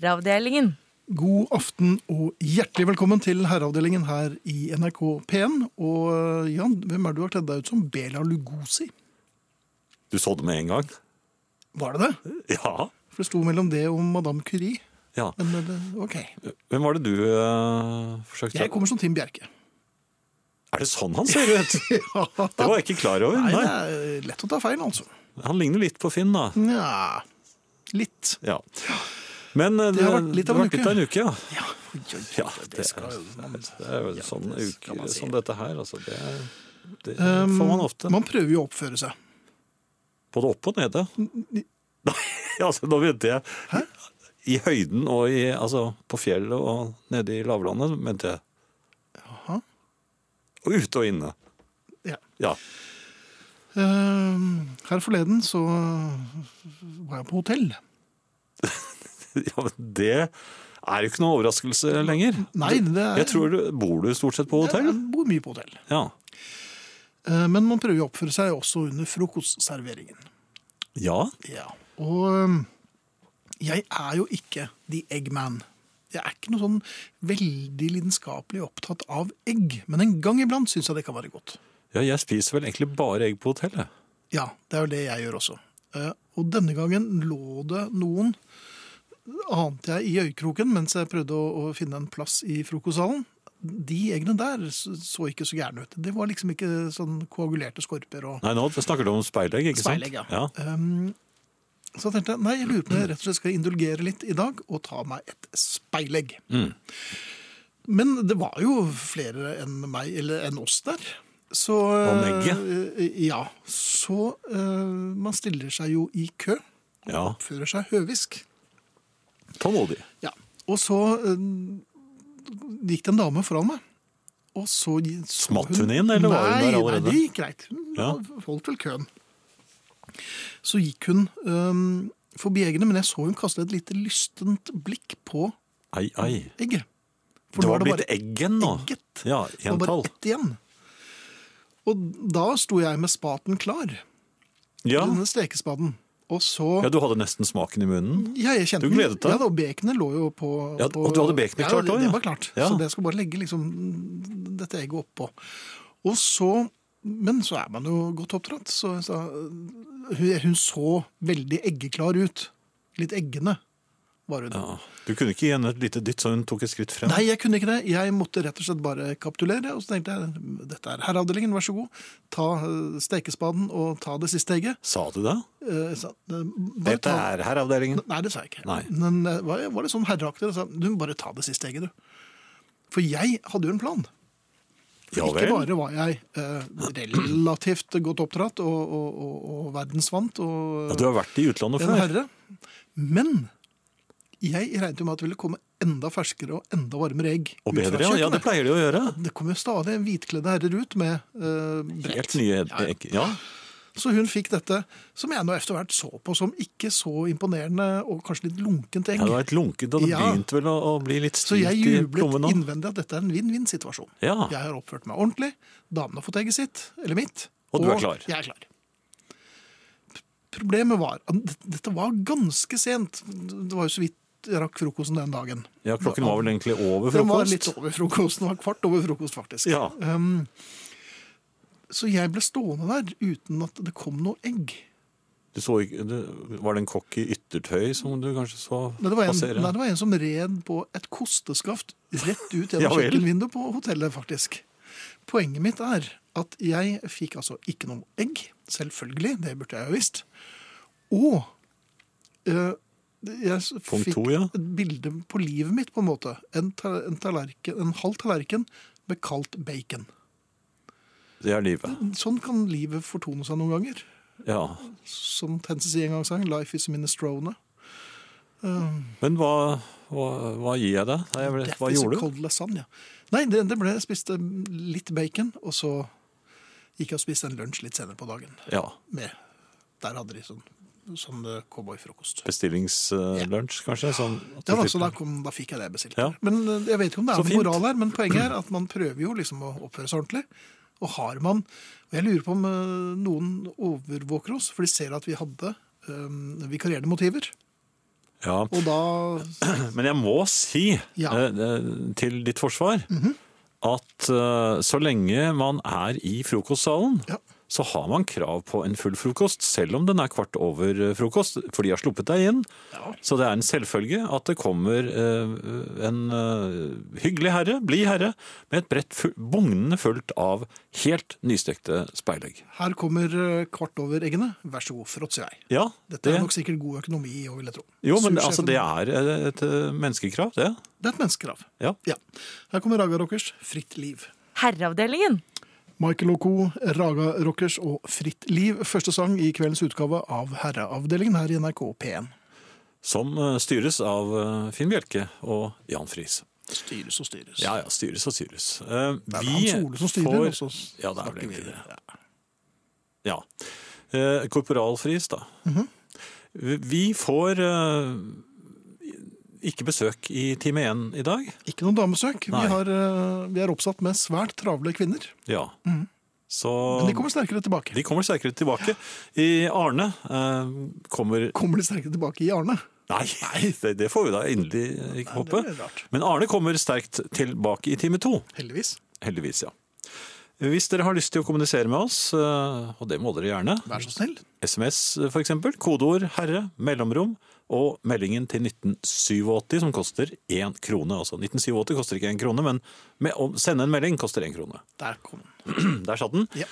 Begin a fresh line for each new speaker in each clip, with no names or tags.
Herreavdelingen.
God aften og hjertelig velkommen til herreavdelingen her i NRK P1. Og Jan, hvem er det du har kledd deg ut som? Bela Lugosi?
Du så det med en gang?
Var det det?
Ja.
For det sto mellom det og Madame Curie.
ja.
Men eh, det, OK.
Hvem var det du eh, forsøkte
Jeg kommer som Tim Bjerke.
Er det sånn han ser ut? Det var jeg ikke klar over.
Nei,
Nei,
det er lett å ta feil, altså.
Han ligner litt på Finn, da.
Nja Litt.
Ja. Men eh, det, har vært litt av en uke. ja.
Ja, oi, oi, oi,
Ja,
det,
det
skal jo man
Det er jo sånne
det skal
uker
man si.
som dette her, altså. Det, er- det
Um,
får man ofte.
Man prøver jo å oppføre seg.
Både opp og nede. Nei, altså, nå mente jeg I høyden og i Altså, på fjellet og nede i lavlandet, mente jeg.
Jaha.
Og ute og inne.
Ja.
Ja.
Ehm, her forleden så var jeg på hotell.
Ja, men det er jo ikke noe overraskelse lenger.
Nei, det er
Jeg tror du, Bor du stort sett på hotell?
Jeg bor mye på hotell.
Ja.
Eh, Men man prøver jo å oppføre seg også under frokostserveringen.
Ja,
Ja. Og øhm, jeg er jo ikke the eggman. Jeg er ikke noe sånn veldig lidenskapelig opptatt av egg, men en gang iblant syns jeg det kan være godt.
ja jeg spiser vel egentlig bare egg på hotellet.
Ja, det er jo det jeg gjør også. Eh, Og denne gangen lå det noen, ante jeg, i øyekroken mens jeg prøvde å, å finne en plass i frokostsalen. De eggene der s- så ikke så gærne ut. Det var liksom ikke sånn koagulerte skorper og
Nei, nå snakker du om speilegg, ikke sant?
Speilegg, ja.
ja.
Um, så tenkte jeg nei, jeg lurer på om jeg rett og slett skal indulgere litt i dag og ta meg et speilegg.
Mm.
Men det var jo flere enn meg, eller enn oss der. Så,
Og Megge.
eh, Ja. Så eh, man stiller seg jo i kø.
ja.
Oppfører seg høvisk.
Tålmodig.
Ja. Og så eh, gikk det en dame foran meg. Og så gi- så
Smatt hun inn, eller var hun
nei,
der
Nei,
allerede?
det gikk greit. Hun
Ja.
holdt vel køen. Så gikk hun eh, forbi eggene, men jeg så hun kaste et lite lystent blikk på
Ai, ai.
egget. For
det
nå
var
er
blitt
bare-
eggen nå.
egget.
Ja,
det var bare
entall.
ett igjen. Og da sto jeg med spaten klar.
Ja.
Denne stekespaden. Og så
ja, du hadde nesten smaken i munnen.
Ja, jeg kjente
Du gledet
den.
deg.
Ja, da, og bekenet lå jo på,
Ja,
på
og du hadde bekenet klart
ja,
også,
det
ja.
var klart.
Ja.
Så det skulle bare legge liksom, dette egget oppå. Og så, men så er man jo godt oppdratt. Så, jeg sa- hun, hun så veldig eggeklar ut. Litt eggende var hun.
Ja. Du kunne ikke gi henne et lite dytt, så hun tok et skritt frem.
Nei, jeg kunne ikke det. Jeg måtte rett og slett bare kapitulere. Og så tenkte jeg dette er herreavdelingen, vær så god. Ta eh, stekespaden og ta det siste egget.
Sa du det?
Eh, sa- eh, bare
Dette
ta-
er herreavdelingen.
Nei, det sa jeg ikke.
Nei.
Men eh, var, var litt sånn herreaktig. og sa, Du må bare ta det siste egget, du. For jeg hadde jo en plan.
Ja
ikke
vel.
bare var jeg eh, relativt godt oppdratt og, og, og, og verdensvant og
Ja, du har vært i utlandet
en
før.
herre, men jeg regnet jo med at det ville komme enda ferskere og enda varmere egg.
Og
ut fra
bedre, ja. ja. Det
kjøkkenet.
pleier de å gjøre.
det kom jo stadig hvitkledde herrer ut med eh, brett.
Helt nye
Ja, ja.
egg. Ja.
Så hun fikk dette, som jeg nå etter hvert så på som ikke så imponerende og kanskje litt lunkent egg.
Ja, det var et lunket, og det
Ja.
begynte vel å, å bli litt
Så
stivt
jeg
i plommen
jublet
nå.
innvendig at dette er en vinn-vinn-situasjon.
Ja.
Jeg har oppført meg ordentlig, damene har fått egget sitt, eller mitt.
Og du er klar.
Jeg er klar. P- Problemet var at d- dette var ganske sent. Det var jo så vidt jeg rakk frokosten den dagen.
Ja, klokken var vel egentlig over
Den var litt
frokost.
over frokosten, det var kvart over frokost faktisk.
Ja.
Um, så jeg ble stående der uten at det kom noe egg.
Du så ikke, du, var det en kokk i yttertøy som du kanskje så
Nei, det, var en,
passere?
nei, det var en som red på et kosteskaft rett ut
Ja
gjennom
vel.
kjøkkenvinduet på hotellet, faktisk. Poenget mitt er at jeg fikk altså ikke noe egg, selvfølgelig, det burde jeg jo visst. Og eh, jeg s-
Punkt
fikk
to, ja.
et bilde på livet mitt, på en måte. En, ta- en, tallerken, en halv tallerken med kaldt bacon.
Det er livet.
Sånn kan livet fortone seg noen ganger.
Ja.
Som Tense sier en gang sang, 'Life is minestrone'.
Men hva, hva, hva gir jeg deg? Nei, jeg ble,
Death
Eh, hva
is a
gjorde du?
Cold lasagne. Nei, det, det ble jeg spiste litt bacon, og så gikk jeg og spiste en lunsj litt senere på dagen.
Ja,
Med, der hadde de sånn, sånn eh, cowboyfrokost.
Bestillingslunsj, kanskje? Sånn, at du
Ja, da, så da,
slipper-
kom, da fikk jeg det bestilt.
Ja.
Men eh, jeg vet ikke om det
Så
er noen
fint.
moral her, men poenget er at man prøver jo liksom å oppføre seg ordentlig. Og har man Og jeg lurer på om eh, noen overvåker oss, for de ser at vi hadde eh, vikarierende motiver.
Ja.
Og da
Men jeg må si,
Ja. Mhm.
eh, eh, til ditt forsvar, at eh, så lenge man er i frokostsalen,
Ja.
så har man krav på en full frokost, selv om den er kvart over eh, frokost, for de har sluppet deg inn. Så det er en selvfølge at det kommer eh, en eh, hyggelig herre, blid herre, med et brett full, bugnende fullt av helt nystekte speilegg.
Her kommer eh, kvart over eggene. Vær så god, fråtser jeg.
Ja,
Dette er
det-
nok sikkert god økonomi i òg, vil jeg tro.
Jo, men altså,
Sursjefen-
det er eh, et eh, menneskekrav, det.
Det er et menneskekrav.
Ja.
Ja. Her kommer Raga Rockers, Fritt liv.
Herreavdelingen.
Michael og co., Raga Rockers og Fritt liv. Første sang i kveldens utgave av Herreavdelingen her i NRK P1.
Som eh, styres av eh, Finn Bjelke og Jan Friis.
Styres og styres.
Ja, ja, styres og styres. Eh,
Det er
vi
Hans Ole som styrer,
får-
og så
Ja, det er vel
snakker vi.
egentlig det. Ja. Eh, Korporal Friis, da.
Mhm.
Vi- Vi får eh, ikke besøk i time én i dag.
Ikke noe damesøk. Vi,
Nei.
har, eh, vi er oppsatt med svært travle kvinner.
Ja. Så
Mhm. Men de kommer sterkere tilbake.
de kommer sterkere tilbake. I Arne eh, kommer
Kommer de sterkere tilbake i Arne?
Nei, det, det får vi da endelig ikke
Nei, det
håpe.
blir rart.
Men Arne kommer sterkt tilbake i time to.
Heldigvis.
Heldigvis, ja. Hvis dere har lyst til å kommunisere med oss, eh, og det må dere gjerne,
Vær så snill.
SMS for eksempel, kodeord herre, mellomrom, og meldingen til 1987 som koster én krone. Altså 1987 koster ikke én krone, men med, å sende en melding koster én krone.
Der kom den.
Der satt den.
Ja.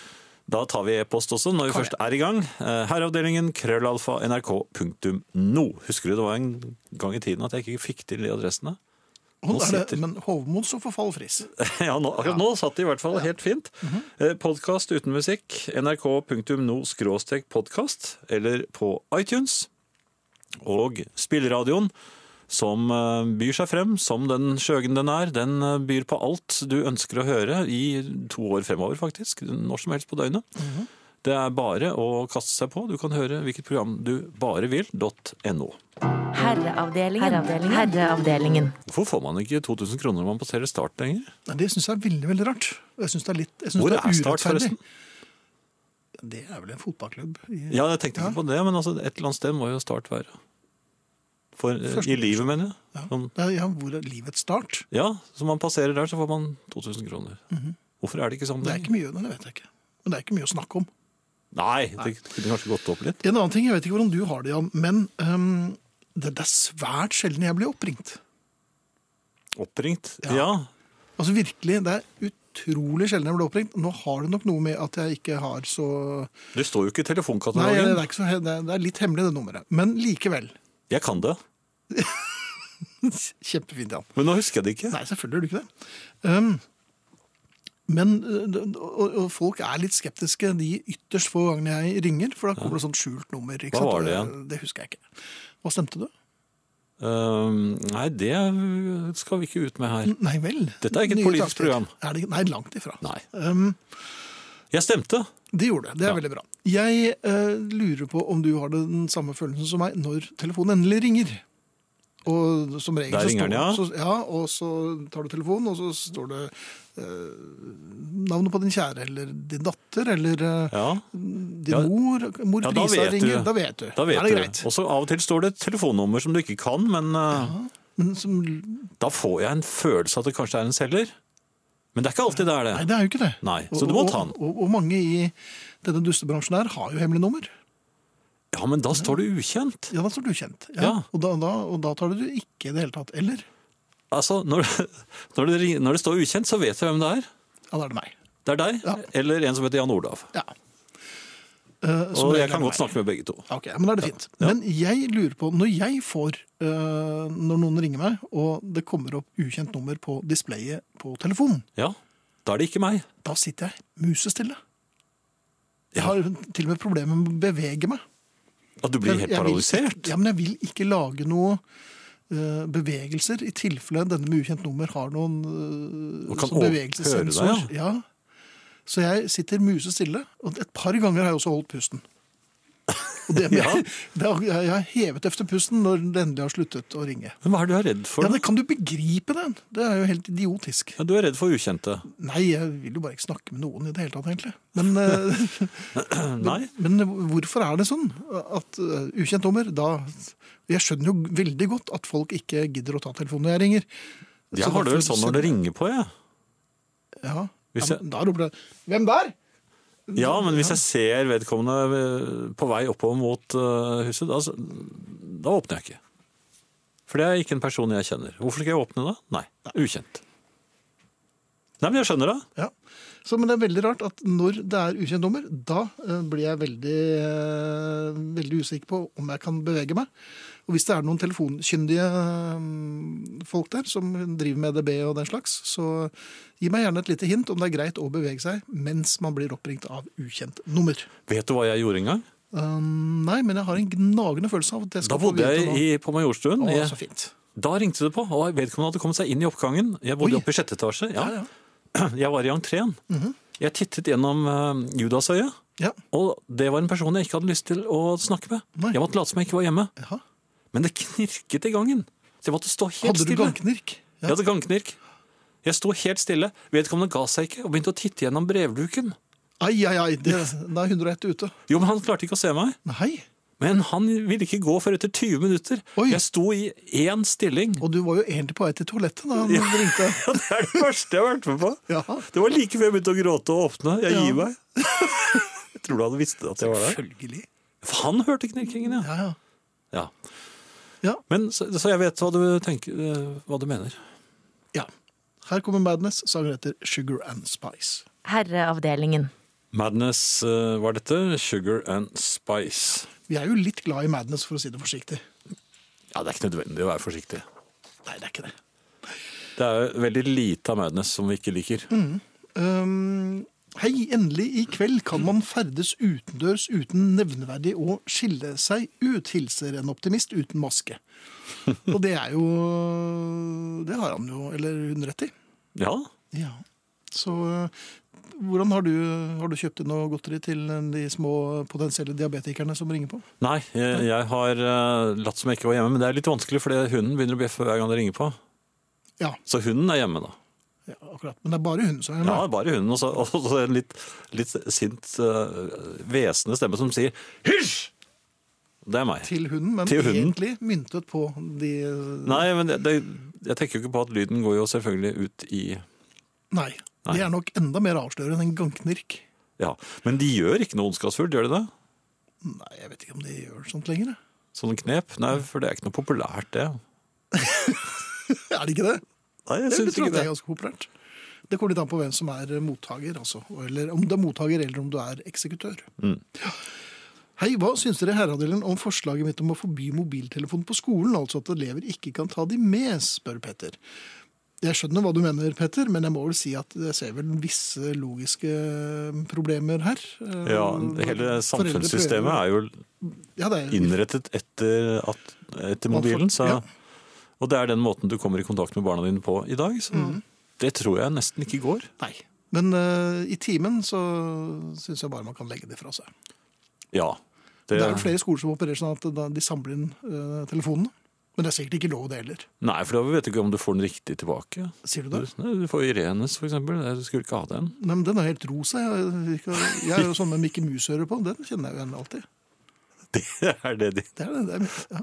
Da tar vi e-post også når vi
Kan
først er i gang. Eh, Herreavdelingen krøllalfa nrk.no. Husker du det var en gang i tiden at jeg ikke fikk til de adressene?
Og
Nå
da er det,
sitter-
men Hovmod så forfall fris.
Ja, nå, akkurat nå satt det i hvert fall helt fint. Eh, Podkast uten musikk, nrk.no-podkast, eller på iTunes. Og spilleradioen, som eh, byr seg frem som den skjøgen den er. Den eh, byr på alt du ønsker å høre i to år fremover, faktisk. Når som helst på døgnet. Det er bare å kaste seg på. Du kan høre hvilket program du bare vil. .no.
Herreavdelingen. Herreavdelingen.
Hvorfor får man ikke 2000 kroner når man passerer start lenger?
Nei, Det syns jeg er veldig veldig rart. Jeg synes det er litt, jeg synes
Hvor
det
er
er
Start,
urettferdig.
forresten?
Det er vel en fotballklubb? I,
Ja, jeg tenkte ikke på det, men altså, et eller annet sted må jo start være. For, eh,
Først-
I livet, mener jeg.
ja.
Sånn,
Det er- ja, hvor er livets start?
ja, så man passerer der, så får man 2000 kroner. Hvorfor er det ikke sånn?
Mhm. Det er
lenger?
ikke mye, nei, det vet jeg ikke. Men det er ikke mye å snakke om.
Nei, det kunne kanskje gått opp litt.
En annen ting, jeg vet ikke hvordan du har det, Jan, men ehm, det, det er svært sjelden jeg blir oppringt.
Oppringt.
Ja.
Ja.
Altså virkelig, det er utrolig sjelden jeg blir oppringt. Nå har det nok noe med at jeg ikke har så
Du står jo ikke
Nei,
i
det
telefonkatalogen.
er, ikke så, he- det er- det er litt hemmelig, det nummeret. Men likevel.
Jeg kan det,
Kjempefint, Jan.
men nå husker jeg det ikke.
Nei, selvfølgelig gjør du ikke det. Um, men øh, d- og, og folk er litt skeptiske de ytterst få gangene jeg ringer, for da kommer det sånt skjult nummer. Ikke
Hva
sant?
var det
Og
igjen?
Det husker jeg ikke. Hva stemte du?
Ehm, nei, det skal vi ikke ut med her.
Nei vel.
Dette er ikke et
Nye
politisk
takter.
program.
Er det, ikke? nei, langt ifra.
Nei.
Um,
Jeg stemte.
det gjorde det. Det er veldig bra. Jeg eh, lurer på om du har den samme følelsen som meg når telefonen endelig ringer. Og som regel
Der
så står,
ringer den, ja.
Så, ja, og så tar du telefonen, og så står det eh, navnet på din kjære eller din datter eller eh,
Ja,
Din
Ja.
mor, mor
Ja, da
Lisa
vet
ringer,
du.
da vet du.
da vet
er det
du.
greit.
Og så av og til står det et telefonnummer som du ikke kan, men eh,
Men som,
da får jeg en følelse av at det kanskje er en selger. Men det er ikke alltid det er det.
nei, det er jo ikke det.
Nei, så du må
Og-
ta den.
Og, og, og mange i denne dustebransjen her har jo hemmelig nummer.
Ja, men da står det ukjent.
Ja, da står du kjent. Ja.
Ja.
Og, da, da, og da tar du det ikke i det hele tatt. Eller?
Altså, når, når, det, ring- når det står ukjent, så vet jeg hvem det er.
Ja, da er det meg.
Det er deg,
Ja.
eller en som heter Jan Olav.
Ja. Eh, som
Og
regel
jeg
er
kan
det
godt
meg.
snakke med begge to.
Ok, men da er det fint. Men jeg lurer på, når jeg får, eh, når noen ringer meg, og det kommer opp ukjent nummer på displayet på telefonen,
Ja, da er det ikke meg.
da sitter jeg musestille. Jeg
Ja.
har til og med problemer med å bevege meg.
At du blir
Jeg-
helt
jeg vil
paralysert.
Ikke, ja, men jeg vil ikke lage noe eh, bevegelser i tilfelle denne med ukjent nummer har noen eh,
Og kan
sånn
å-
bevegelsessensor.
høre deg,
ja. Så jeg sitter musestille, og et par ganger har jeg også holdt pusten. Og det, med,
Ja.
det har, jeg har hevet efter pusten når det endelig har sluttet å ringe.
Men hva er det du er redd for?
Ja,
da?
det Kan du begripe det? Det er jo helt idiotisk.
Ja, du er redd for ukjente.
Nei, jeg vil jo bare ikke snakke med noen i det hele tatt, egentlig. Men, eh,
Nei.
men hvorfor er det sånn at eh, ukjent nummer da Jeg skjønner jo veldig godt at folk ikke gidder å ta telefonen når jeg ringer.
Jeg har det vel sånn når det ringer på, jeg.
Ja,
Hvis
ja
jeg-
men da roper det Hvem der?
Ja, men hvis jeg ser vedkommende eh, på vei oppover mot eh, huset, da, da åpner jeg ikke. For det er ikke en person jeg kjenner. Hvorfor skal jeg åpne da? Nei, ukjent. Nei, men jeg skjønner det.
Ja. Så, men det er veldig rart at når det er ukjent nummer, da eh, blir jeg veldig, eh, veldig usikker på om jeg kan bevege meg. Og hvis det er noen telefonkyndige eh, folk der som driver med EDB og den slags, så gi meg gjerne et lite hint om det er greit å bevege seg mens man blir oppringt av ukjent nummer.
Vet du hva jeg gjorde en gang?
Eh, nei, men jeg har en gnagende følelse av at jeg
Da
skal få
bodde
vite
jeg i, på Majorstuen.
nå. Å,
Jeg-
så fint.
Da ringte det på, og vedkommende hadde kommet seg inn i oppgangen. Jeg bodde
Oi.
oppe i sjette etasje. Ja.
Ja, Mhm.
Jeg var i entreen. Jeg tittet gjennom eh, Judasøyet,
Ja,
og det var en person jeg ikke hadde lyst til å snakke med.
Nei.
Jeg måtte late som jeg ikke var hjemme,
jaha.
men det knirket i gangen. Så jeg måtte stå helt
Hadde du
stille.
gangknirk?
Jeg hadde gangknirk. Jeg sto helt stille. Vedkommende ga seg ikke og begynte å titte gjennom brevduken.
Ai, ai, ai, det, da er 101 ute.
Jo, men han klarte ikke å se meg.
Nei,
Men han ville ikke gå før etter 20 minutter.
Oi.
Jeg sto i én stilling.
og du var jo egentlig på vei til toalettet da han ringte.
Det er det verste jeg har vært med på.
Ja.
Det var like før jeg begynte å gråte og åpne. Jeg
Ja.
gir meg. Jeg tror du han visste at jeg var der.
Følgelig.
For han hørte knirkingen, ja.
Ja, ja.
ja.
Ja.
Men, så, så jeg vet hva du, tenker, eh, hva du mener.
ja. Her kommer Madness, sangen heter Sugar and Spice.
Herreavdelingen.
Madness eh, var dette. Sugar and Spice.
Vi er jo litt glad i Madness, for å si det forsiktig.
Ja, Det er ikke nødvendig å være forsiktig.
Nei, det er ikke det.
Det er veldig lite av Madness som vi ikke liker.
Um, hei, endelig i kveld kan man ferdes utendørs uten nevneverdig å skille seg ut, hilser en optimist uten maske. Og det er jo Det har han jo, eller hun, rett i.
Ja,
Ja. Så eh, hvordan har du, har du kjøpt inn noe godteri til de små potensielle diabetikerne som ringer på?
Nei, jeg, jeg har eh, latt som jeg ikke var hjemme, men det er litt vanskelig fordi hunden begynner å bjeffe hver gang det ringer på.
Ja,
Så hunden er hjemme, da.
ja akkurat. Men det er bare hun som er
Ja,
med.
bare hunden. Og så, og så en litt, litt sint, eh, hvesende stemme som sier 'hysj'! Det er meg.
Til hunden, men
Til hunden.
egentlig myntet på de
Nei, men det, det, jeg tenker jo ikke på at lyden går jo selvfølgelig ut i
Nei.
Nei.
Det er nok enda mer avslørende enn en gangknirk.
Ja. Men de gjør ikke noe ondskapsfullt, gjør de det?
Nei, jeg vet ikke om de gjør sånt lenger. jeg.
Sånne Sånn knep? Nei, for det er ikke noe populært, det.
Er det ikke det?
Nei, jeg
Jeg tror at
syns ikke
det
det.
er ganske populært. Det kommer litt an på hvem som er eh, mottaker, altså. Eller om det er mottaker, eller om du er eksekutør.
Mm.
Ja. Hei, hva syns dere i herreavdelingen om forslaget mitt om å forby mobiltelefon på skolen? Altså at elever ikke kan ta de med, spør Petter. Jeg skjønner hva du mener, Petter, men jeg må vel si at jeg ser vel visse logiske problemer her. Eh,
Ja, hele
foreldre
samfunnssystemet
prøver-
er jo
ja, det er,
innrettet etter, at, etter mobilen. Så,
Ja.
Og det er den måten du kommer i kontakt med barna dine på i dag. Så
Mm.
det tror jeg nesten ikke går.
Nei. Men eh, i timen så syns jeg bare man kan legge det fra seg.
Ja.
Det er jo flere skoler som opererer sånn at da de samler inn eh, telefonene. Men det er sikkert ikke lov det heller.
Nei, for da vet du ikke om du får den riktig tilbake.
Sier du
Du,
det?
nei, du får Irenes, for eksempel. Nei, Du skulle ikke ha den.
Nei, men Den er helt rosa. Jeg, jeg er jo sånn med Mikke Mus-ører på. Den kjenner jeg jo igjen alltid.
Det er det de...
Det er det, det er, mitt, ja.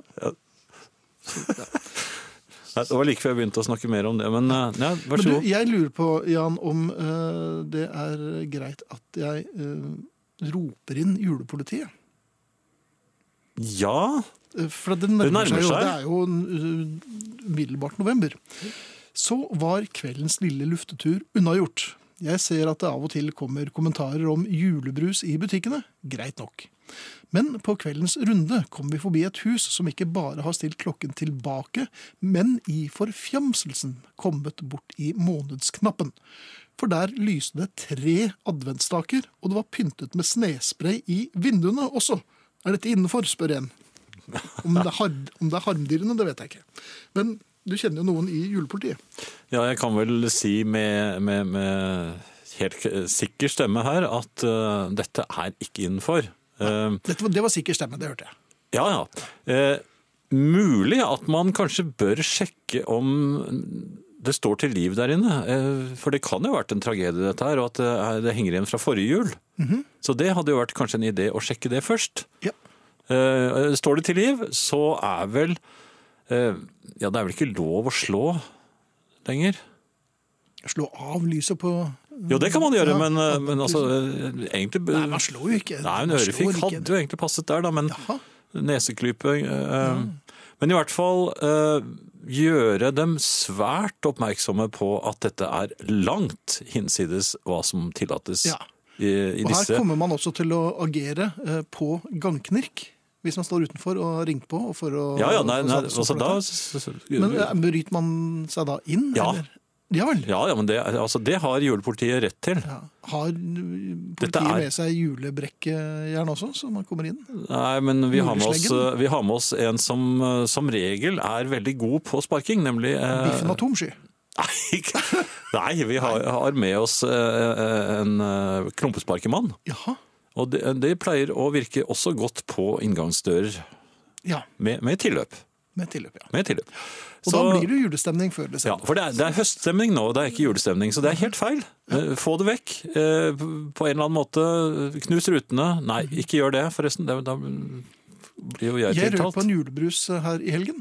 Nei, det var like før jeg begynte å snakke mer om det, men eh, ja, vær
Men
så
du,
god.
jeg lurer på, Jan, om eh, det er greit at jeg eh, roper inn julepolitiet.
Ja,
Eh, For det nærmer,
nærmer
seg jo.
seg.
Det er jo eh, umiddelbart november. Så var kveldens lille luftetur unnagjort. Jeg ser at det av og til kommer kommentarer om julebrus i butikkene. Greit nok. Men på kveldens runde kom vi forbi et hus som ikke bare har stilt klokken tilbake, men i forfjamselsen kommet bort i månedsknappen. For der lyste det tre adventsstaker, og det var pyntet med snespray i vinduene også. Er dette innenfor, spør en. Om det er, har, om det er harmdyrene, det vet jeg ikke. Men du kjenner jo noen i julepolitiet.
ja jeg kan vel si med, med, med helt k- sikker stemme her at eh, dette er ikke innenfor. Eh, Eh,
Dette, var- det var sikker stemme, det hørte jeg.
ja, ja. Eh, mulig at man kanskje bør sjekke om det står til liv der inne. Eh, for det kan jo ha vært en tragedie dette her, og at det, er- det henger igjen fra forrige jul.
Mhm.
Så det hadde jo vært kanskje en idé å sjekke det først.
Ja.
Eh, står det til liv, så er vel eh, Ja, det er vel ikke lov å slå lenger?
Slå av lyset på
Jo, det kan man gjøre,
Ja,
men, eh,
at-
men altså eh, egentlig
Nei, man slår jo ikke.
Nei, en
Man slår
ørefik
ikke.
hadde jo egentlig passet der, da, men
Jaha.
neseklype eh,
Mm.
Men i hvert fall eh, gjøre dem svært oppmerksomme på at dette er langt hinsides hva som tillates
Ja.
i, i
Og her
disse
kommer man også til å agere eh, på gangknirk, hvis man står utenfor og ringer på. og sånn, For å,
Ja, ja,
for
nei,
å
nei,
satse på
altså da
dette. Men eh, bryter man seg da inn?
Ja.
eller? Ja vel.
Ja, ja, men det, altså, det har julepolitiet rett til.
Ja. Har eh,
Dette
politiet
er-
med seg julebrekkejern også, så man kommer inn?
Nei, men vi har, med oss,
Julesleggen?
vi har med oss en som eh, som regel er veldig god på sparking, nemlig eh,
Biffen atomsky.
Nei, ikke- nei, vi har, har med oss eh, eh, en eh, klumpesparkemann.
Jaha.
Og det, det pleier å virke også godt på inngangsdører
Ja,
med, med tilløp.
med tilløp, ja.
Med tilløp.
Og da blir det julestemning før
ja,
desember.
for det er, det er høststemning nå, det er ikke julestemning, så det er helt feil. Eh, Få det vekk eh, på en eller annen måte. Knus rutene. Nei, ikke gjør det, forresten. Det, da blir jo jeg
Jeg røk på
tiltalt.
en julebrus eh, her i helgen.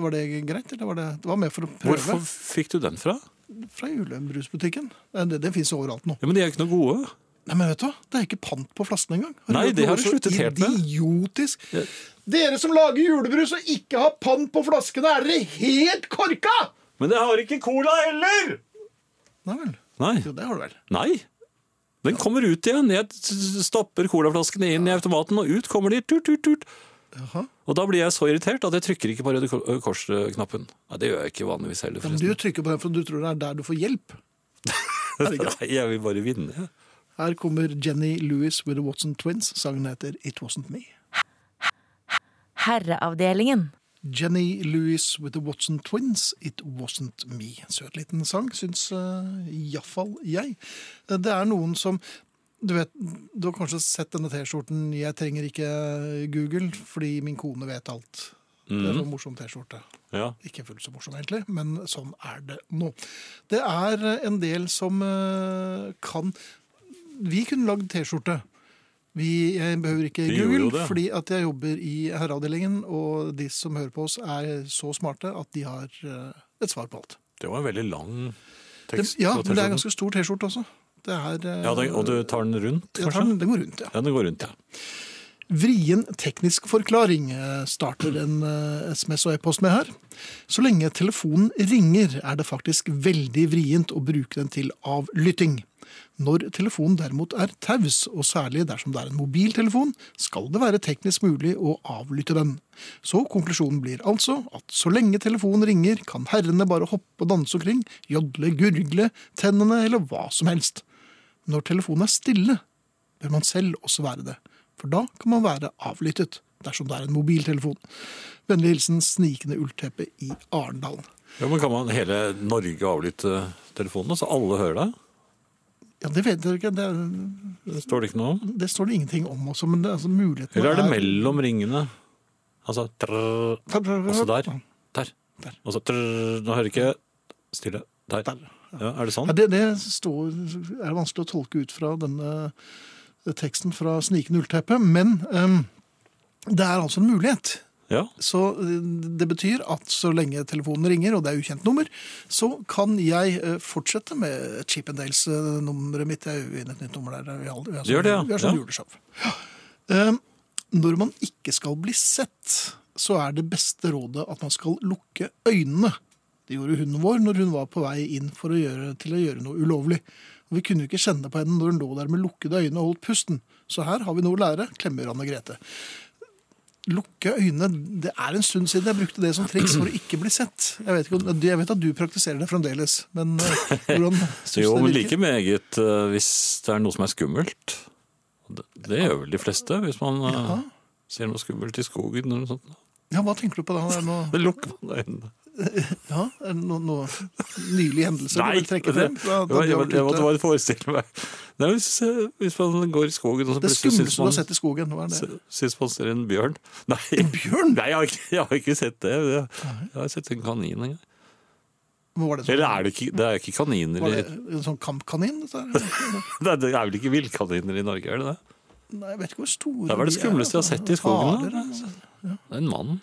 Var det greit, eller var det, det var med for å prøve
Hvorfor fikk du den fra?
fra julebrusbutikken? Eh, Det, det, det finnes jo overalt nå.
Ja, men de er jo ikke noe gode.
Nei, men vet du hva? Det er ikke pant på flaskene engang.
Nei,
du hørt
det
noe
har du
så
sluttet helt med.
Idiotisk.
Ja.
Dere som lager julebrus og ikke har pant på flaskene, er dere helt korka!
Men det har ikke cola heller!
Nei vel.
Nei.
Jo, det har du vel.
Nei. Den kommer ut igjen. Jeg t- stapper colaflaskene inn i automaten, og ut kommer de. Tut, tut, tut.
Jaha.
Og da blir jeg så irritert at jeg trykker ikke på Røde Ko- Kors-knappen. Nei, det gjør jeg ikke vanligvis heller,
Ja, men
forresten.
du trykker på den, for du tror det er der du får hjelp.
Nei, jeg vil bare vinne.
Her kommer Jenny Lewis with the Watson Twins. Sangen heter It Wasn't Me.
Herreavdelingen.
Jenny Lewis with the Watson Twins, It Wasn't Me. En søt liten sang, syns uh, iallfall jeg. Eh, Det er noen som du vet, du har kanskje sett denne T-skjorten 'Jeg trenger ikke Google fordi min kone vet alt'. Det er en morsom T-skjorte.
Ja.
Ikke fullt så morsom egentlig, men sånn er det nå. Det er en del som eh, kan Vi kunne lagd T-skjorte. Vi, jeg behøver ikke
Vi gjorde jo
Google,
det.
fordi at jeg jobber i herreavdelingen, og de som hører på oss er så smarte at de har eh, et svar på alt.
Det var en veldig lang
Det,
tekst.
ja, men
på
det er
T-skjorten.
ganske stor T-skjorte også. Det er, eh,
ja, den, Og du tar den rundt,
jeg tar den,
kanskje?
den går rundt, ja.
Ja, den går rundt, ja.
Vrien teknisk forklaring eh, starter en eh, SMS og e-post med her. Så lenge telefonen ringer, er det faktisk veldig vrient å bruke den til avlytting. Når telefonen derimot er taus, og særlig dersom det er en mobiltelefon, skal det være teknisk mulig å avlytte den. Så konklusjonen blir altså at så lenge telefonen ringer, kan herrene bare hoppe og danse omkring, jodle, gurgle, tennene eller hva som helst. Når telefonen er stille, bør man selv også være det. For da kan man være avlyttet, dersom det er en mobiltelefon. Vennlig hilsen Snikende ullteppe i Arendal.
ja. Men kan man hele Norge avlytte telefonen, så alle hører deg?
Ja, det vet dere ikke. Det,
Står det ikke noe om?
det står det ingenting om også, men det, altså, muligheten
Eller er det mellom ringene? Altså trrr, Altså der. Der.
Der.
Og så trrr, Nå hører jeg ikke Stille. Der.
Der,
Ja, er det sånn?
Ja, det, det står, er vanskelig å tolke ut fra denne eh, teksten fra Snikende ullteppe, men em, det er altså en mulighet.
Ja.
Så eh, det betyr at så lenge telefonen ringer, og det er ukjent nummer, så kan jeg eh, fortsette med Chip Dales-nummeret mitt. Jeg er jo inne i et nytt nummer der. Vi har, vi har
Gjør det, ja.
Vi har sånn
Ja.
juleshow. Eh, Når man ikke skal bli sett, så er det beste rådet at man skal lukke øynene. Det gjorde hunden vår når hun var på vei inn for å gjøre, til å gjøre noe ulovlig. Og Vi kunne jo ikke kjenne på henne når hun lå der med lukkede øyne og holdt pusten. Så her har vi noe å lære, klemmer Anne Grete. Lukke øynene. Det er en stund siden jeg brukte det som triks for å ikke bli sett. Jeg vet, ikke, om- jeg vet at du praktiserer det fremdeles, men eh, hvordan synes
Jo,
det
men
virker?
like meget eh, hvis det er noe som er skummelt. Det, det gjør vel de fleste, hvis man eh,
Ja.
ser noe skummelt i skogen eller noe sånt.
Ja, hva tenker du på da? Er det noe,
Da lukker man øynene.
ja, er det noe, noe nylig hendelse du vil trekke
det,
frem?
det, var- jeg måtte bare forestille meg Nei, hvis, eh, hvis man går i skogen og så
Det
plutselig sånn- syns
skumleste du har
man,
sett i skogen, hva er det?
sy- syns man ser en bjørn Nei,
Bjørn?
Nei jeg, har ikke, jeg har ikke sett det. Jeg, jeg har sett en kanin en gang.
Hva var det som,
Eller er det ikke, det er ikke kaniner
var
i
det en sånn kampkanin? dette her?
Nei, Det er vel ikke villkaniner i Norge, er det det?
Nei, jeg vet ikke hvor store
Det er vel det
de
skumleste jeg har
altså.
sett i skogen.
Haler,
Da.
eller-
Det er En mann.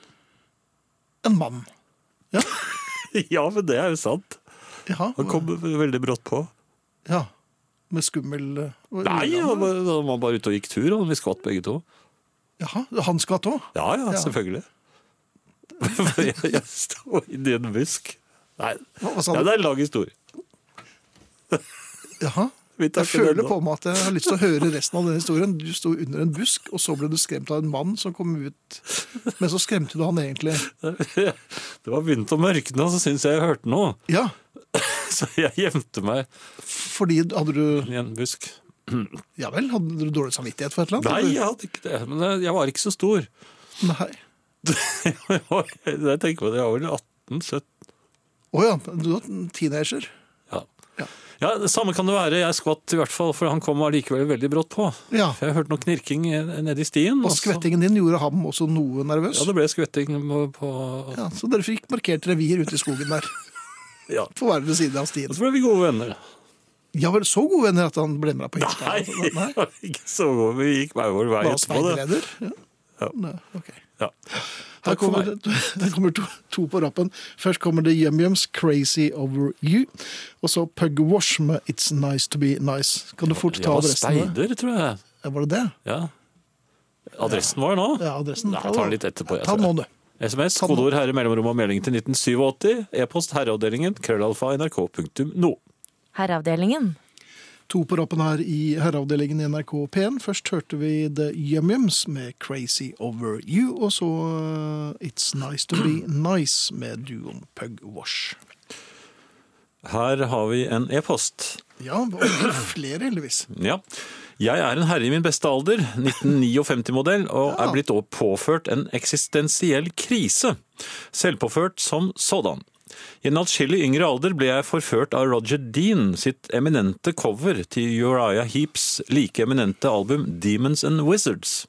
En mann.
Ja, men det er jo sant.
Jaha,
Han kom veldig brått på.
Ja. Med skummel eh, hva-
Nei, han var, han var bare ute og gikk tur, og vi skvatt begge to.
Jaha, han skvatt òg?
Ja, ja,
Ja.
selvfølgelig. For jeg, jeg står inni en busk. Nei,
Hva, hva sa
ja,
du?
det er en lang historie.
Jaha.
Vi tar
Jeg
ikke den
føler
nå.
på meg at jeg har lyst til å høre resten av den historien. Du sto under en busk, og så ble du skremt av en mann som kom ut. Men så skremte du han egentlig.
Det var begynt å mørkne, og så syntes jeg jeg hørte noe.
Ja,
Så jeg gjemte meg
fordi hadde du
i en busk.
Ja vel, hadde du dårlig samvittighet for et eller
Nei,
annet?
jeg hadde ikke det. Men jeg- jeg var ikke så stor.
Nei. Nei.
Jeg var- jeg tenker på det, jeg var vel 18-17.
Å ja, du var en teenager.
Ja.
Ja.
ja, det samme kan det være. Jeg skvatt i hvert fall, for han kom allikevel veldig brått på.
Ja.
For jeg hørte noe knirking eh, nede i stien.
Og
og så-
skvettingen din gjorde ham også noe nervøs.
Ja, det ble skvetting på, på
Ja, så dere fikk markert revir ute i skogen der,
ja.
på hver deres side av
Og
stien.
så ble vi gode venner.
Ja vel, så gode venner at han ble med deg på
Nei,
hilsen? Altså, Nei.
ikke så gode. Vi gikk hver vår vei
Var han
etterpå. det.
veileder? Ja.
Ja.
Nei, ok.
Ja.
Her
Takk for
kommer,
meg.
det, det kommer to, to på rappen. Først kommer det YumYums 'Crazy Over You'. Og så Pug Wash med 'It's Nice To Be Nice'. Kan du fort
Jeg
ta
var
adressen?
speider, tror jeg.
Ja, var det det?
Ja. Adressen var nå?
Ja, adressen.
Nei, jeg tar den litt etterpå. Jeg
Ta den
tror
nå,
jeg.
du.
SMS,
den nå.
kodeord herre, mellomrom og melding til 1987. E-post herreavdelingen, krøllalfa, nrk.no.
Herreavdelingen.
To på rappen her i herreavdelingen i NRK P1. Først hørte vi The YumYums med 'Crazy Over You'. Og så eh, 'It's Nice To Be Nice' med duoen Pug Wash.
Her har vi en e-post.
Ja, det var flere, heldigvis.
Ja. Jeg er en herre i min beste alder, 1959-modell, og
Ja.
er blitt påført en eksistensiell krise. Selvpåført som sådan. I en atskillig yngre alder ble jeg forført av Roger Dean sitt eminente cover til Uriah Heaps like eminente album Demons and Wizards.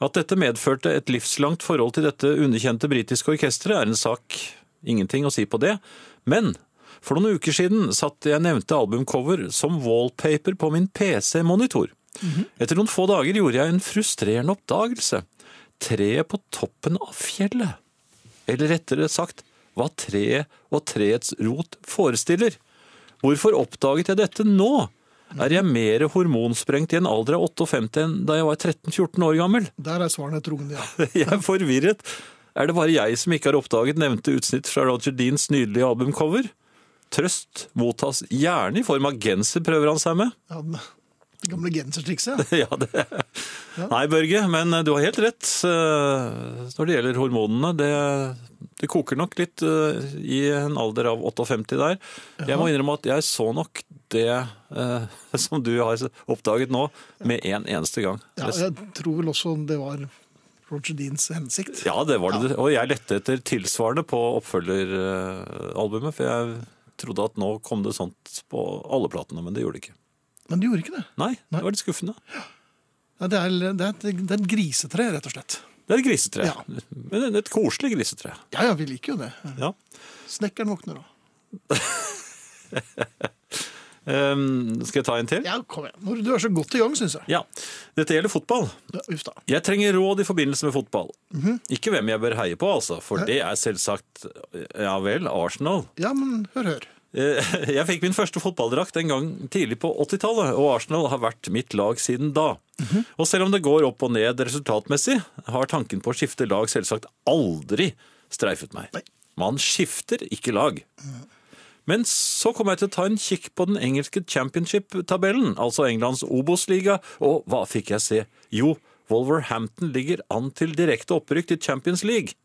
At dette medførte et livslangt forhold til dette underkjente britiske orkesteret, er en sak ingenting å si på det. Men for noen uker siden satte jeg nevnte albumcover som wallpaper på min PC-monitor. Etter noen få dager gjorde jeg en frustrerende oppdagelse. Treet på toppen av fjellet. Eller rettere sagt, hva treet og treets rot forestiller. Hvorfor oppdaget jeg dette nå? Er jeg mer hormonsprengt i en alder av 58 enn da jeg var 13-14 år gammel?
Der er svarene trukne, ja.
Jeg er forvirret. Er det bare jeg som ikke har oppdaget nevnte utsnitt fra Roger Deans nydelige albumcover? Trøst mottas gjerne i form av genser, prøver han seg med.
ja den- det gamle gensertrikset. ja.
Ja, det Nei, Børge, men du har helt rett eh, når det gjelder hormonene. Det, det koker nok litt eh, i en alder av 58 der. Jeg må innrømme at jeg så nok det eh, som du har oppdaget nå, med en eneste gang.
Ja, jeg tror vel også det var Roger Deans hensikt.
Ja, det var det. Og jeg lette etter tilsvarende på oppfølgeralbumet, for jeg trodde at nå kom det sånt på alle platene, men det gjorde det ikke.
Men de gjorde ikke det.
Nei,
Nei.
det var litt skuffende.
Ja, det, er, det, er et, det er et grisetre, rett og slett.
Det er et grisetre.
Ja.
Men et koselig grisetre.
Ja, ja, vi liker jo det.
Ja.
Snekkeren våkner òg.
Ehm, skal jeg ta en til?
Ja, kom igjen. Når du er så godt i gang, syns jeg.
Ja. Dette gjelder fotball.
Ja, Uff da.
Jeg trenger råd i forbindelse med fotball.
Mhm.
Ikke hvem jeg bør heie på, altså, for det er selvsagt Ja vel, Arsenal.
Ja, men hør, hør.
Eh, Jeg fikk min første fotballdrakt en gang tidlig på 80-tallet, og Arsenal har vært mitt lag siden da. Og selv om det går opp og ned resultatmessig, har tanken på å skifte lag selvsagt aldri streifet meg.
Nei.
Man skifter ikke lag. Men så kom jeg til å ta en kikk på den engelske championship-tabellen, altså Englands Obos-liga, og hva fikk jeg se? Jo, Wolverhampton ligger an til direkte opprykk til Champions League.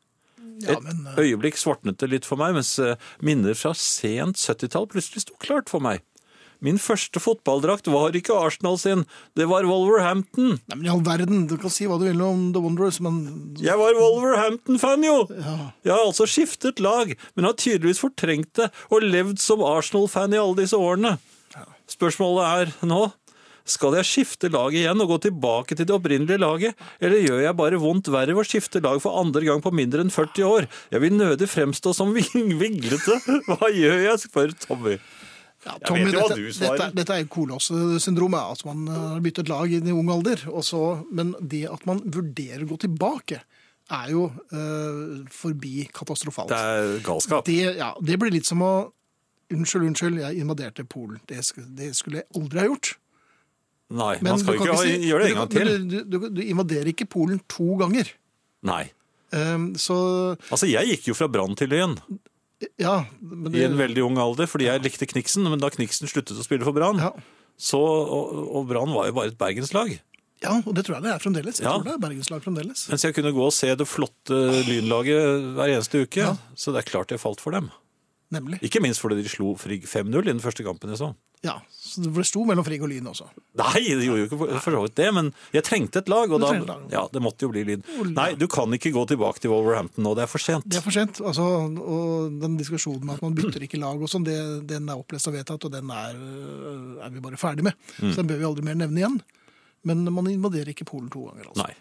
Ja,
Et
men, eh,
øyeblikk svartnet det litt for meg, mens eh, minner fra sent 70-tall plutselig sto klart for meg. Min første fotballdrakt var ikke Arsenal sin, det var Wolverhampton.
Nei, men i all verden, du kan si hva du vil om The Wanderers, men
Jeg var Wolverhampton-fan, jo! Jeg har altså skiftet lag, men har tydeligvis fortrengt det og levd som Arsenal-fan i alle disse årene. Spørsmålet er nå Skal jeg skifte lag igjen og gå tilbake til det opprinnelige laget, eller gjør jeg bare vondt verre ved å skifte lag for andre gang på mindre enn 40 år? Jeg vil nødig fremstå som ving- vinglete. Hva gjør jeg, spør Tommy.
Ja,
Jeg vet jo hva
dette,
du svarer.
dette, dette er jo kolossesyndromet, at man eh, har byttet lag i ung alder. Og så, men det at man vurderer å gå tilbake, er jo eh, forbi katastrofalt.
Det er galskap.
Det, ja, det blir litt som å Unnskyld, unnskyld, jeg invaderte Polen. Det, sk- det skulle jeg aldri ha gjort.
Nei,
Men
man skal
du
jo
kan
ikke ha-
si-
gjøre det
du
en gang
kan-
til.
men Du, du, du invaderer ikke Polen to ganger.
Nei.
Ehm, så
Altså, jeg gikk jo fra Brann til Lyn
ja. Men
i en veldig ung alder fordi jeg likte Kniksen, men da Kniksen sluttet å spille for Brann,
ja,
så Og, og Brann var jo bare et bergenslag.
ja, og det tror jeg det er fremdeles. Jeg
Ja.
tror det er bergenslag fremdeles.
Mens jeg kunne gå og se det flotte lynlaget hver eneste uke,
Ja.
så det er klart jeg falt for dem.
Nemlig.
Ikke minst fordi de slo Frigg 5-0 i den første kampen jeg så.
Ja, så det ble sto mellom Frigg og Lyn også.
Nei, det gjorde jo ikke for- for så vidt det, men jeg trengte et lag, og
Du
da
trengte et lag.
Ja, det måtte jo bli Lyn.
Ulla.
Nei, du kan ikke gå tilbake til Wolverhampton nå, det er for sent.
Det er for sent. Altså, og den diskusjonen med at man bytter ikke lag og sånn, det- den er opplest og vedtatt, og den er, øh, er vi bare ferdig med.
Mm.
Så den bør vi aldri mer nevne igjen. Men man invaderer ikke Polen to ganger. altså.
Nei.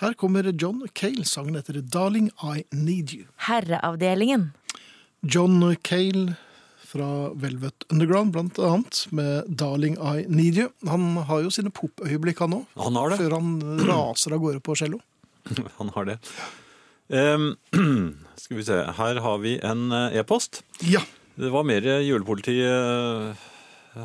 Her kommer John Cale, sangen etter 'Darling, I Need You'.
Herreavdelingen.
John Cale fra Velvet Underground, blant annet, med 'Darling, I Need You'. Han har jo sine popøyeblikk, han òg.
Han har det.
Før han raser av gårde på cello.
Han har det. Ehm, skal vi se, her har vi en eh, e-post.
Ja.
Det var mer julepoliti eh,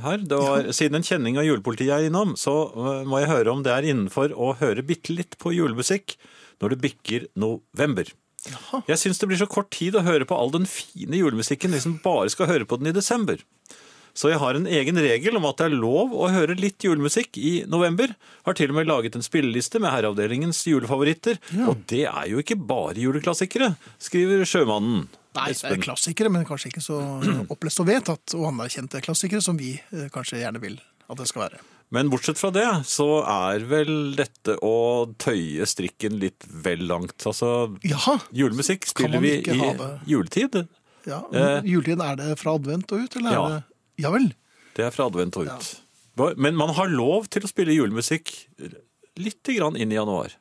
her. Det var, Siden en kjenning av julepolitiet er innom, så eh, må jeg høre om det er innenfor å høre bitte litt på julemusikk når det bikker november.
Jaha.
Jeg syns det blir så kort tid å høre på all den fine julemusikken hvis en bare skal høre på den i desember. Så jeg har en egen regel om at det er lov å høre litt julemusikk i november. Har til og med laget en spilleliste med herreavdelingens julefavoritter. Og det er jo ikke bare juleklassikere, skriver sjømannen.
Nei, det er
Espen.
klassikere, men kanskje ikke så opplest og vedtatt og anerkjente klassikere som vi eh, kanskje gjerne vil at det skal være.
Men bortsett fra det, så er vel dette å tøye strikken litt vel langt. Altså,
Jaha!
julemusikk spiller
man
vi
ikke
i
ha det?
juletid.
Ja,
Eh.
men Juletiden, er det fra advent og ut, eller
Ja.
er det Ja vel.
Det er fra advent og ut. Men man har lov til å spille julemusikk lite grann inn i januar.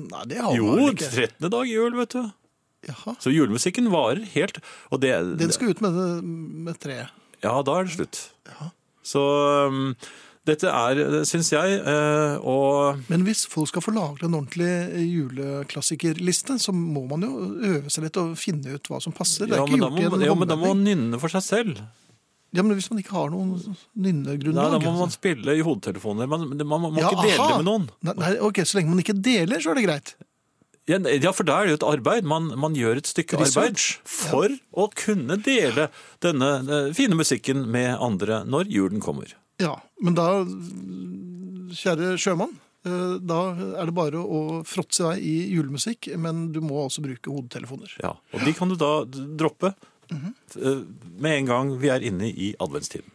Nei, det har
Jo,
man vel ikke.
13. dag jul, vet du.
Jaha.
Så julemusikken varer helt. Og det,
Den skal ut med, det- med treet.
Ja, da er det slutt. Så um, dette er, syns jeg, eh, og
Men hvis folk skal få lagre en ordentlig eh, juleklassikerliste, så må man jo øve seg litt og finne ut hva som passer. Det er
ja,
ikke
men da
gjort
må,
i en
ja, men da må
håndvending.
man nynne for seg selv.
Ja, men hvis man ikke har noen
Nei,
nynnergrunnlag
da
altså.
må man spille i hodetelefoner. Man, man må
Ja,
ikke dele
aha!
det med noen.
Nei, nei, ok, Så lenge man ikke deler, så er det greit.
Ja, Ja, for da er det jo et arbeid. Man, man gjør et stykke
Research.
arbeid for å kunne dele denne eh, fine musikken med andre når julen kommer.
Ja, men da, kjære sjømann, eh, da er det bare å fråtse i vei i julemusikk, men du må altså bruke hodetelefoner.
Ja, og de kan du da d- droppe eh, med en gang vi er inne i adventstiden.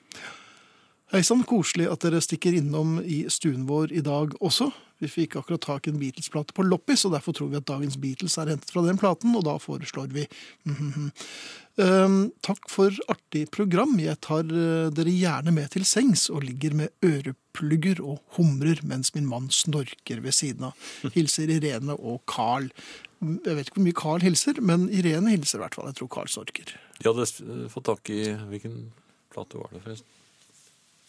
Hei sann, koselig at dere stikker innom i stuen vår i dag også. Vi fikk akkurat tak i en Beatles-plate på loppis, og derfor tror vi at dagens Beatles er hentet fra den platen, og da foreslår vi mhm. Ehm, Takk for artig program. Jeg tar eh, dere gjerne med til sengs og ligger med øreplugger og humrer mens min mann snorker ved siden av. Hilser Irene og Carl. Jeg vet ikke hvor mye Carl hilser, men Irene hilser i hvert fall. Jeg tror Carl snorker.
De hadde eh, fått tak i Hvilken plate var det, forresten?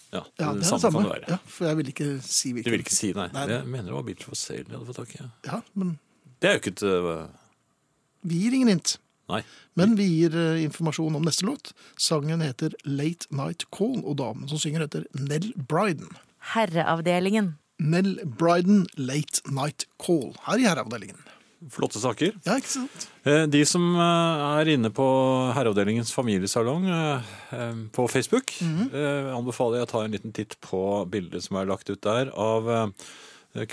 Ja,
Ja, det er
samme
det samme.
kan det være.
Ja, for jeg vil ikke si
Du
hvilken.
vil ikke si nei.
Nei.
Jeg mener det var Beatles for Sale de hadde fått tak i. ja.
Ja, men...
Det er jo ikke et eh,
Vi gir ingen hint,
Nei.
men vi gir eh, informasjon om neste låt. Sangen heter Late Night Call, og damen som synger heter Nell Bryden.
Herreavdelingen.
Nell Bryden, Late Night Call, her i herreavdelingen.
Flotte saker.
Ja, ikke sant?
Eh, De som eh, er inne på Herreavdelingens familiesalong eh, eh, på Facebook, eh, anbefaler jeg å ta en liten titt på bildet som er lagt ut der av eh,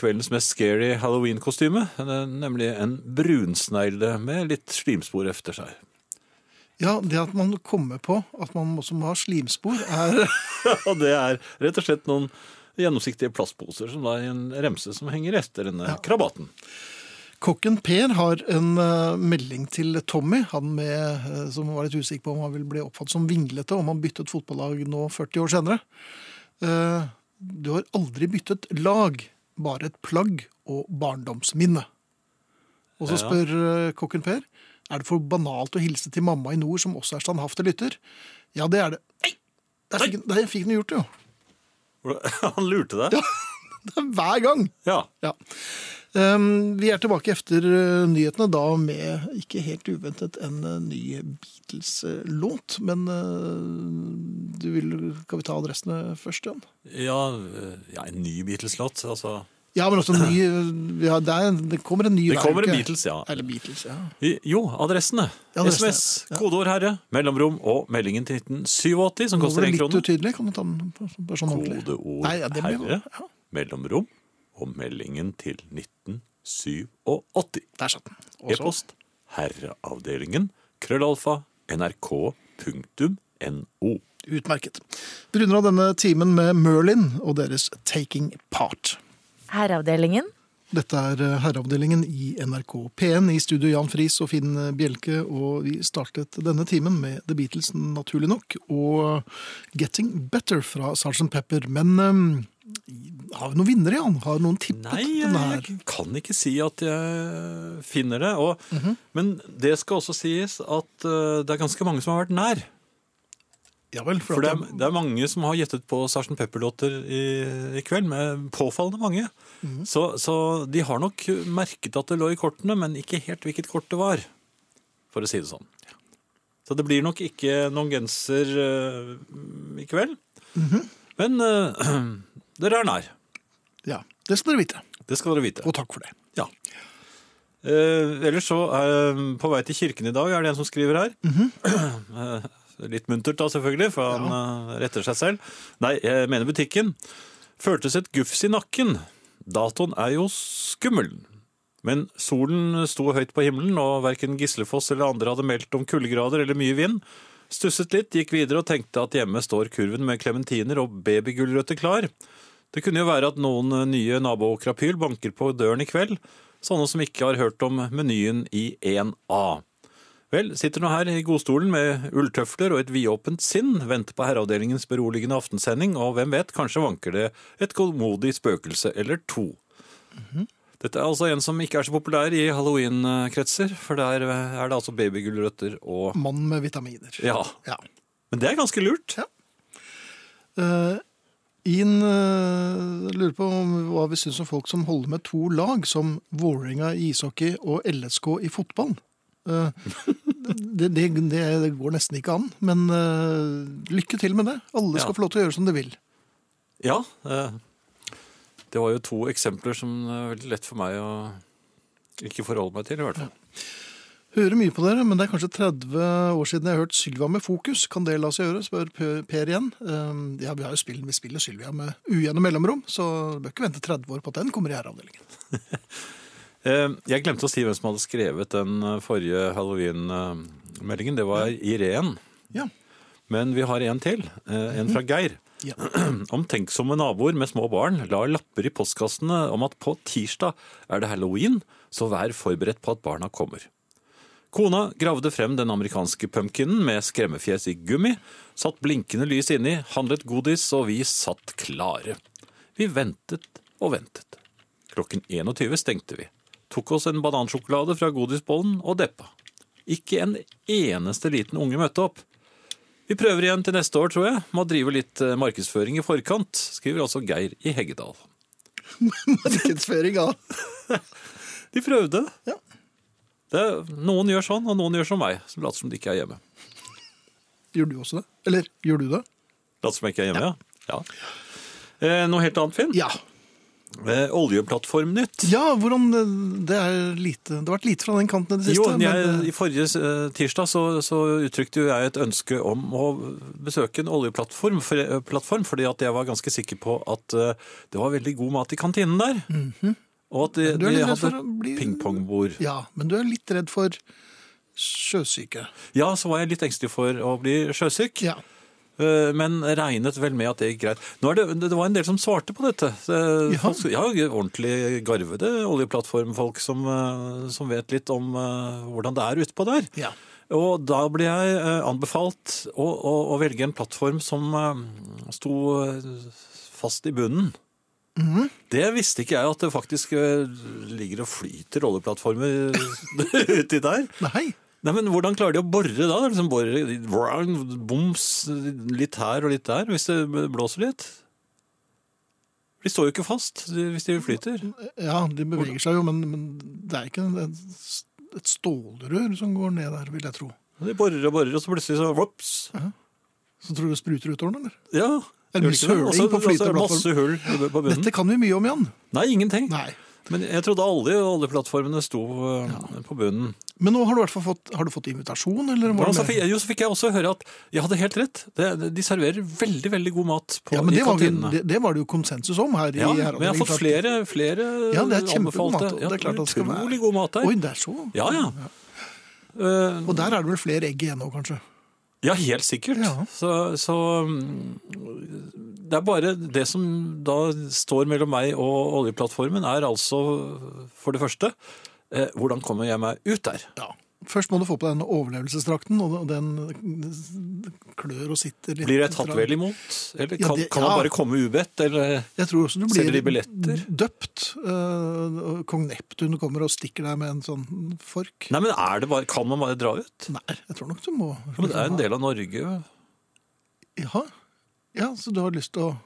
kveldens mest scary Halloween-kostyme, eh, nemlig en brunsnegle med litt slimspor efter seg.
Ja, det at man kommer på at man også må ha slimspor, er
Og det er rett og slett noen gjennomsiktige plastposer som da er i en remse som henger etter denne krabaten.
Kokken Per har en eh, melding til Tommy, han med, eh, som var litt usikker på om han ville bli oppfattet som vinglete om han byttet fotballag nå 40 år senere. Eh, Du har aldri byttet lag, bare et plagg og barndomsminne. Og så
Ja.
spør eh, kokken Per er det for banalt å hilse til mamma i nord, som også er standhaftig lytter. Ja, det er det. Nei! Der fikk, der fikk den gjort, jo.
Han lurte deg?
Det er hver gang.
Ja.
Ja. Ehm, vi er tilbake etter eh, nyhetene, da med ikke helt uventet en eh, ny Beatles-låt. Men eh, du vil, skal vi ta adressene først, Jan?
Ja, eh, ja en ny Beatles-låt. Altså.
Ja, men også en ny eh, vi har- det, er, en- det kommer en ny
Det
hver
kommer en
uke.
Beatles, ja.
Eller Beatles, ja.
I- Jo, adressene.
Adressene,
SMS,
ja.
kodeord herre, mellomrom og meldingen til 1987, som
Nå var det
koster én
litt
krone.
utydelig. Kan du ta den på, på sånn ordentlig?
Kodeord
Nei, ja, det blir bra.
herre,
Ja,
mellomrom og meldingen til 1987.
der satt den. Og så-
E-post herreavdelingen krøllalfa nrk.no.
Utmerket. Vi runder av denne timen med Merlin og deres Taking Part.
Herreavdelingen.
Dette er eh, herreavdelingen i NRK P1 i studio Jan Friis og Finn Bjelke, og vi startet denne timen med The Beatles, naturlig nok, og Getting Better fra Sgt. Pepper. Men eh, har vi noen vinnere, Jan? Har noen tippet
Nei,
denne her?
jeg kan ikke si at jeg finner det. Og,
Mhm.
Men det skal også sies at eh, det er ganske mange som har vært nær.
Ja vel,
For
for
det
at
er, det er mange som har gjettet på Sgt. Pepper-låter i, i kveld, med påfallende mange. Så, så de har nok merket at det lå i kortene, men ikke helt hvilket kort det var. For å si det sånn. Så det blir nok ikke noen genser eh, i kveld. Men eh, dere er nær.
jeg- Ja, det skal dere vite,
Det skal dere vite.
og takk for det.
Ja. Eh, ellers så, eh, på vei til kirken i dag, er det en som skriver her. Eh, litt muntert da, selvfølgelig, for han eh, retter seg selv. Nei, jeg mener butikken. Føltes et gufs i nakken. Datoen er jo skummel. Men solen sto høyt på himmelen, og verken Gislefoss eller andre hadde meldt om kuldegrader eller mye vind. Stusset litt, gikk videre og tenkte at hjemme står kurven med klementiner og babygulrøtter klar. Det kunne jo være at noen eh, nye nabokrapyl banker på døren i kveld, sånne som ikke har hørt om menyen i 1A. Vel, sitter nå her i godstolen med ulltøfler og et vidåpent sinn, venter på herreavdelingens beroligende aftensending, og hvem vet, kanskje vanker det et godmodig spøkelse eller to. Dette er altså en som ikke er så populær i halloween-kretser, for der er det altså babygulrøtter og
Mannen med vitaminer.
Ja.
Ja.
Men det er ganske lurt.
Eh, Ian eh, lurer på om- hva vi syns om folk som holder med to lag, som Vålerenga i ishockey og LSK i fotball. Eh, det, det, det går nesten ikke an, men eh, lykke til med det. Alle skal
Ja.
få lov til å gjøre som de vil.
Ja. eh, Det var jo to eksempler som det er veldig lett for meg å ikke forholde meg til, i hvert fall.
Hører mye på dere, men det er kanskje 30 år siden jeg har hørt Sylvia med fokus. Kan det la seg gjøre? spør Per- Per igjen. Eh, ja, vi, har jo spill, vi spiller Sylvia med ujevne mellomrom, så du bør ikke vente 30 år på at den kommer i herreavdelingen.
Eh, Jeg glemte å si hvem som hadde skrevet den eh, forrige halloween-meldingen. Det var Irén.
Ja. Mhm.
Men vi har en til. eh, En fra Geir.
Ja.
Omtenksomme naboer med små barn la lapper i postkassene om at på tirsdag er det halloween, så vær forberedt på at barna kommer. Kona gravde frem den amerikanske pumpkinen med skremmefjes i gummi, satt blinkende lys inni, handlet godis, og vi satt klare. Vi ventet og ventet. Klokken 21 stengte vi. Tok oss en banansjokolade fra godisbollen og deppa. Ikke en eneste liten unge møtte opp. Vi prøver igjen til neste år, tror jeg. Må drive litt eh, markedsføring i forkant, skriver altså Geir i Heggedal.
Markedsføring av
De prøvde.
Ja.
Det, noen gjør sånn, og noen gjør som meg, som later som de ikke er hjemme.
Gjør du også det? Eller gjør du det?
Later som jeg ikke er hjemme, ja. ja. Eh, noe helt annet, Finn?
Ja.
Eh, oljeplattformnytt.
Ja, hvordan Det er lite Det har vært lite fra den kanten i det siste.
Jo, jeg,
men,
I forrige eh, tirsdag så, så uttrykte jo jeg et ønske om å besøke en oljeplattform, for, eh, plattform, fordi at jeg var ganske sikker på at eh, det var veldig god mat i kantinen der. Og at de,
Mhm. du er litt
de
redd for
hadde
å bli-
pingpongbord.
eh, ja, men du er litt redd for sjøsyke.
Ja, så var jeg litt engstelig for å bli sjøsyk.
Ja.
Eh, Men regnet vel med at det gikk greit. Nå er det, det var en del som svarte på dette. Eh,
Ja.
Folk, ja, ordentlig garvede oljeplattformfolk som, eh, som vet litt om eh, hvordan det er utpå der.
Ja.
Og da ble jeg eh, anbefalt å, å, å velge en plattform som eh, sto eh, fast i bunnen.
Mhm.
Det visste ikke jeg, at det faktisk eh, ligger og flyter rolleplattformer uti der.
Nei.
Nei, men Hvordan klarer de å bore da? Det er Liksom bore, vroom, boms, litt her og litt der, hvis det blåser litt? De står jo ikke fast de- hvis de flyter.
Ja, de beveger seg jo, men, men det er ikke en- et stålrør som går ned der, vil jeg tro.
De borer og borer, og så plutselig så vops.
Så tror du det spruter ut tårnet, eller?
Ja.
En
gjør de ikke det?
søling
Og så-
på flyteplattform.
og så er det Masse hull på bunnen.
Dette kan vi mye om, Jan.
Nei, ingenting.
Nei.
Men jeg trodde alle oljeplattformene sto eh, på bunnen.
Men nå har du i hvert fall fått, har du fått invitasjon, eller? var
Men
det
altså,
mer?
fikk- jo, så fikk jeg også høre at jeg hadde helt rett. Det, det- de serverer veldig veldig god mat på,
ja, men
i
det var, vi,
kantinene.
det, det var det jo konsensus om her.
ja,
i
men jeg har fått
Herreavdelingen,
flere, flere
Ja, det er kjempegod
anbefalte.
mat. og
Ja,
det er klart at det skal være-
utrolig god mat der.
Oi, det er så.
Ja, ja. Eh,
Og der er det vel flere egg igjen nå, kanskje?
ja, helt sikkert.
Ja.
Så, så mm, det er bare det som da står mellom meg og oljeplattformen, er altså for det første eh, hvordan kommer jeg meg ut der?
Ja. Først må du få på deg den overlevelsesdrakten, og den klør og sitter litt.
Blir jeg tatt vel imot? Eller
Ja,
kan,
det-
kan man
ja.
bare komme ubedt? Eller?
Jeg tror også du blir
Selger de billetter?
døpt. eh, og Kong Neptun kommer og stikker deg med en sånn fork.
Nei, men er det bare, Kan man bare dra ut?
Nei, jeg tror nok du må
Ja, men det er en del av Norge.
Ja, ja så du har lyst til å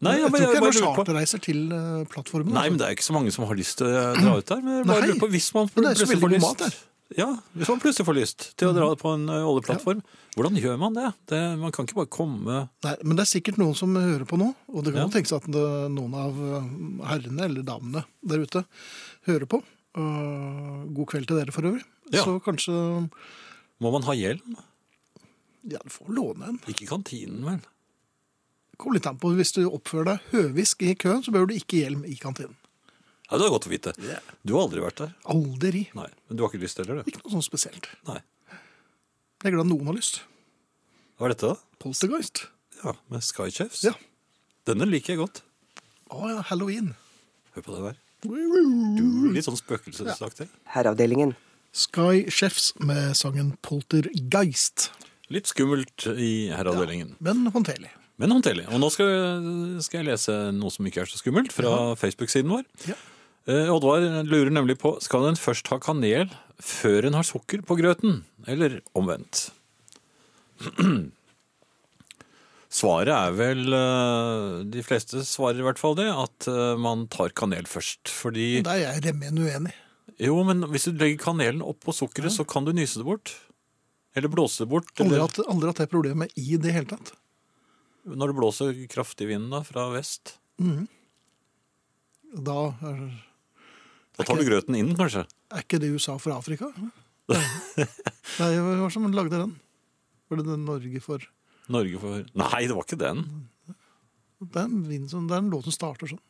Nei, ja,
Jeg tror
men
ikke
jeg
det er
bare
noen
lurer på.
charterreiser til eh, plattformen.
Nei, men det er jo ikke så mange som har lyst til å dra ut der. Men jeg bare
Nei.
lurer på hvis man
Men det er så
plutselig
veldig god
får lyst.
mat der. Mhm.
Ja, hvis man plutselig får lyst til å dra på en ø, oljeplattform. Hvordan gjør man det? det? Man kan ikke bare komme
Nei, men det er sikkert noen som hører på nå, og det kan
Ja.
jo tenkes at det, noen av eh, herrene eller damene der ute hører på. Eh, god kveld til dere for øvrig.
Ja.
Så kanskje
Må man ha hjelm?
Ja, du får låne en.
Ikke i kantinen, vel?
Kom litt an på. Hvis du oppfører deg høvisk i køen, så behøver du ikke hjelm i kantinen.
Ja, Det er godt å vite. Du har aldri vært der.
Aldri.
Nei, Men du har ikke lyst heller, du?
Ikke noe sånn spesielt.
Nei.
Jeg er glad noen har lyst.
Hva er dette, da?
Poltergeist.
Ja, Med Skychefs?
Ja.
Denne liker jeg godt.
Å ja, halloween.
Hør på det der. Litt sånn spøkelsesaktig.
Herreavdelingen.
Sky Chefs med sangen Poltergeist.
Litt skummelt i herreavdelingen.
Men håndterlig.
Men håndterlig. Og nå skal, skal jeg lese noe som ikke er så skummelt, fra Facebook-siden vår.
Ja.
Eh, Oddvar lurer nemlig på skal en først ha kanel før en har sukker på grøten, eller omvendt. Svaret er vel eh, De fleste svarer i hvert fall det, at eh, man tar kanel først. Fordi
Der er jeg remmen uenig.
Jo, men hvis du legger kanelen oppå sukkeret, så kan du nyse det bort. Eller blåse det bort.
Aldri
Eller,
hatt, aldri hatt det problemet i det hele tatt.
Når det blåser kraftig vind da, fra vest.
Da er,
Da tar du grøten inn, kanskje?
er ikke det USA for Afrika? Nei, hva var det som lagde den? Var det den Norge for Det
Norge for Nei, det var ikke den.
er en, vind som, det er en låt som starter sånn.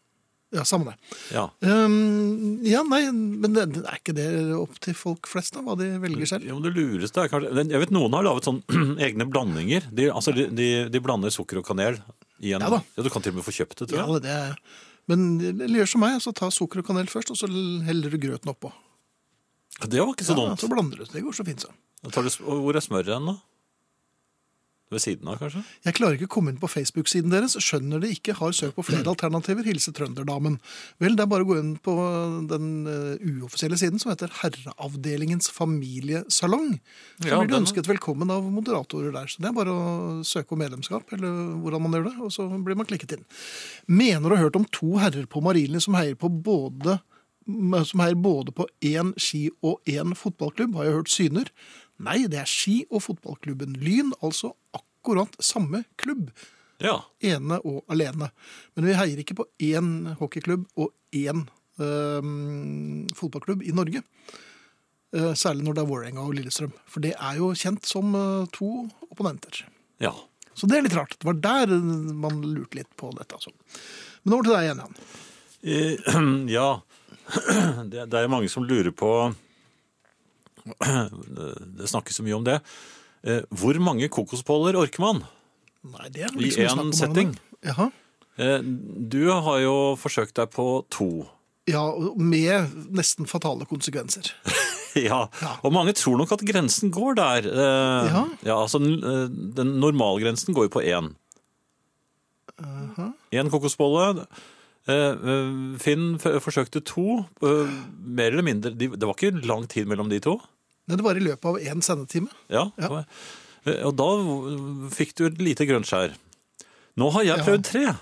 Ja, samme det.
Ja.
Ehm, ja, nei, men det, det er ikke det opp til folk flest, da, hva de velger selv?
Ja, men det lureste er kanskje Jeg vet noen har laget sånn egne blandinger. De, altså, de, de, de blander sukker og kanel i en
Ja da.
Du kan til og med få kjøpt det, tror
Ja,
jeg.
det er, men eller gjør som meg, så ta sukker og kanel først, og så heller du grøten oppå.
Ja, det var ikke så
Ja,
dumt.
så blander du. Det går så fint sånn.
Da Tar du, sm- og hvor er smøret hen, da? Ved siden av, kanskje?
Jeg klarer ikke å komme inn på Facebook-siden deres. Skjønner de ikke, har søkt på flere alternativer. Hilse trønderdamen. Vel, det er bare å gå inn på den eh, uoffisielle siden som heter Herreavdelingens familiesalong. Så
Ja,
blir du
den-
ønsket velkommen av moderatorer der. Så det er bare å søke om medlemskap, eller hvordan man gjør det, og så blir man klikket inn. Mener du har hørt om to herrer på Marienlyst som heier på både som heier både på én ski- og én fotballklubb, har jeg hørt syner. Nei, det er ski- og fotballklubben Lyn, altså akkurat samme klubb,
Ja.
ene og alene. Men vi heier ikke på én hockeyklubb og én øhm, fotballklubb i Norge. Eh, Særlig når det er Vålerenga og Lillestrøm. For det er jo kjent som eh, to opponenter.
ja.
Så det er litt rart. Det var der eh, man lurte litt på dette. Altså. Men over til deg igjen, Jan.
Eh, ja. Det, det er mange som lurer på Det snakkes så mye om det. Eh, Hvor mange kokosboller orker man?
Nei, det er
I
liksom
én
snakk om
setting.
hverandre. Jaha.
Eh, Du har jo forsøkt deg på to.
Ja, og med nesten fatale konsekvenser.
Ja,
Ja.
og mange tror nok at grensen går der. Eh,
Ja.
altså, den, eh, den normalgrensen går jo på én. Én Én kokosbolle. Eh, eh, Finn f- forsøkte to, eh, mer eller mindre. De, det var ikke lang tid mellom de to.
Nei, det var i løpet av én sendetime.
Ja.
Ja.
det var- Eh, Og da v- fikk du et lite grønt skjær. Nå har jeg
Ja.
prøvd tre.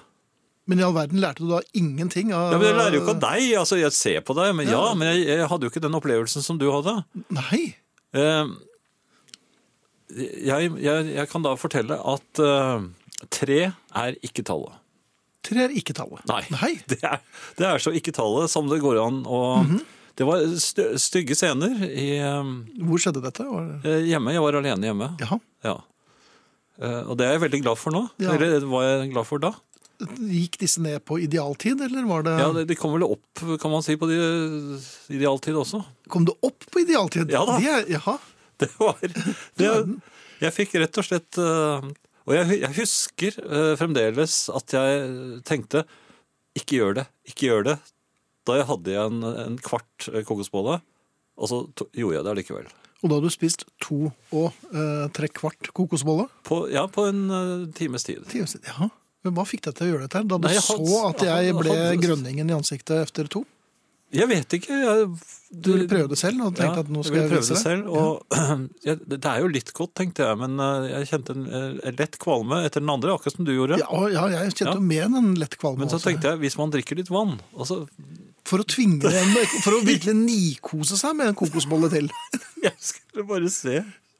Men i all verden lærte du da ingenting av
Ja, men jeg lærer jo ikke av deg. altså Jeg ser på deg, men ja, men jeg, jeg hadde jo ikke den opplevelsen som du hadde.
Nei.
Eh, Jeg, jeg, jeg kan da fortelle at eh, tre er ikke tallet.
Tre er ikke tallet.
Nei. Det er, det er så ikke tallet som det går an å Det var stø, stygge scener i,
Hvor skjedde dette? Var det-
eh, hjemme. Jeg var alene hjemme.
Jaha.
Ja. Eh, Og det er jeg veldig glad for nå.
Ja.
Eller det var jeg glad for da.
Gikk disse ned på idealtid, eller var det,
Ja, det- De kom vel opp, kan man si, på de idealtid også.
kom det opp på idealtid?
Ja da.
Det er, jaha.
Det var det, Jeg fikk rett og slett eh, Og jeg, hu- jeg husker eh, fremdeles at jeg tenkte Ikke gjør det, ikke gjør det. Da jeg hadde igjen en kvart eh, kokosbolle, og så to, gjorde jeg det allikevel.
Og da hadde du spist to og eh, tre kvart kokosbolle?
På, ja, på en eh, times tid.
Til jevnstid, Jaha. Men hva fikk deg til å gjøre dette? her? Da du
Nei, jeg
så
hadde-
at jeg
hadde-
ble
hadde-
grønningen i ansiktet etter to?
Jeg vet ikke. Jeg,
Du ville prøve det selv og tenkte
Ja,
at nå
jeg
skal jeg,
ville prøve
vise
det
det?
selv. Og, jeg, det er jo litt godt, tenkte jeg, men eh, jeg kjente en eh, lett kvalme etter den andre, akkurat som du gjorde.
Ja, og- ja, jeg kjente
Ja.
jo mer enn en lett kvalme.
Men så
også.
tenkte jeg, hvis man drikker litt vann altså- og så,
For å tvinge dem, for å virkelig nikose seg med en kokosbolle til.
Jeg skulle bare se.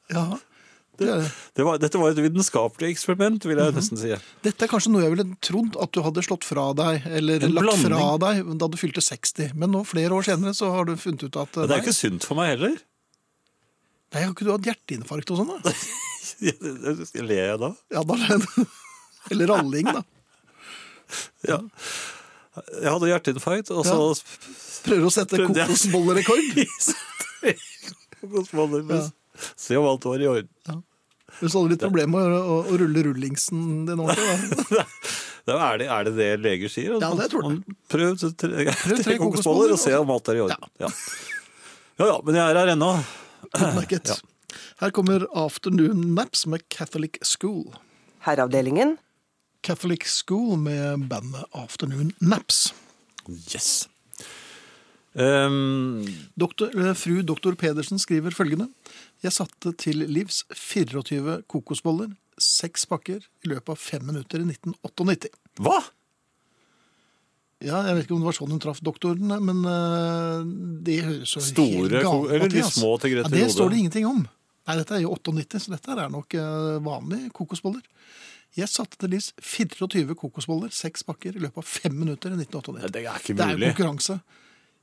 Ja, det er det.
Det var, dette var et vitenskapelig eksperiment, vil jeg nesten si.
Dette er kanskje noe jeg ville trodd at du hadde slått fra deg, eller
En
lagt
blanding.
fra deg da du fylte 60. Men nå, flere år senere, så har du funnet ut at
Men det er
nei,
jo ikke synd for meg heller.
nei, har ikke du hatt hjerteinfarkt og sånn? da?
Ler jeg da?
Ja, da Eller ralling, da.
Ja. Jeg hadde hjerteinfarkt, og så
Prøver å sette
Prøvde jeg.
kokosbollerekord. Ja.
Se om alt var i orden.
Men så hadde du litt problemer med å, å, å rulle rullingsen din ordentlig. da.
Da er, det, er det det leger sier?
Ja, det tror jeg.
Man- Prøv tre, tre,
tre
kokosboller
kokosboller,
og se om alt er i orden. Ja. ja ja, men jeg er her ennå.
Utmerket.
Ja.
Her kommer Afternoon Naps med Catholic School.
Herreavdelingen.
Catholic School med bandet Afternoon Naps.
Yes. Um,
Doktor, eh, fru doktor Pedersen skriver følgende. Jeg satte til livs 24 kokosboller, seks pakker, i løpet av fem minutter i 1998.
hva?
Ja, Jeg vet ikke om det var sånn hun traff doktoren, men eh, det høres jo helt
Store ko-
galt
eller
ut,
de
altså.
små til Grete
ja, Det
Rode.
står det ingenting om. Nei, dette er jo 98, så dette er nok eh, vanlige kokosboller. Jeg satte til livs 24 kokosboller, seks pakker, i løpet av fem minutter i 1998.
Nei, Det er ikke
Det er jo
mulig.
konkurranse.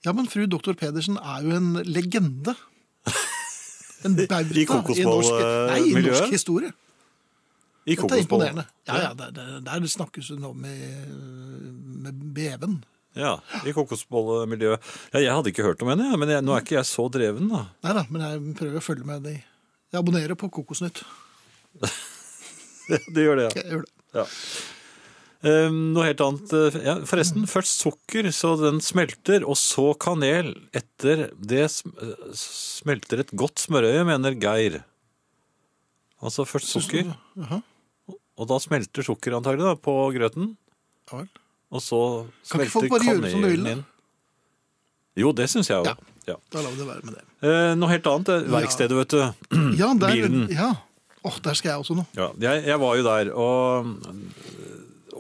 Ja, men fru doktor Pedersen er jo en legende. En bauta
I kokosbollmiljøet?
Nei, i norsk historie. Dette
I
er
kokosboller.
imponerende. Ja, ja, der, der, der snakkes hun om med, med beven.
Ja, i kokosbollemiljøet. Ja, jeg hadde ikke hørt om henne, jeg, men jeg, nå er ikke jeg så dreven, da.
Nei da, men jeg prøver å følge med. De. Jeg abonnerer på Kokosnytt.
Det gjør det, ja.
Jeg gjør det.
Eh, noe helt annet. eh, Ja, forresten, først sukker, så den smelter, og så kanel. Etter det sm eh, smelter et godt smørøye, mener Geir. Altså først sukker,
Jaha,
og da smelter sukker antagelig da, på grøten.
ja vel.
Og så
Kan ikke
smelter
folk bare gjøre som de vil,
kanelen
da?
inn. Jo, det syns jeg jo.
Ja.
Ja.
Da lar vi det være med det.
Eh, noe helt annet. eh, Verkstedet, vet du.
Ja, der,
Mm, Bilen.
Ja. Åh, der skal jeg også nå.
Ja, jeg, jeg var jo der og øh,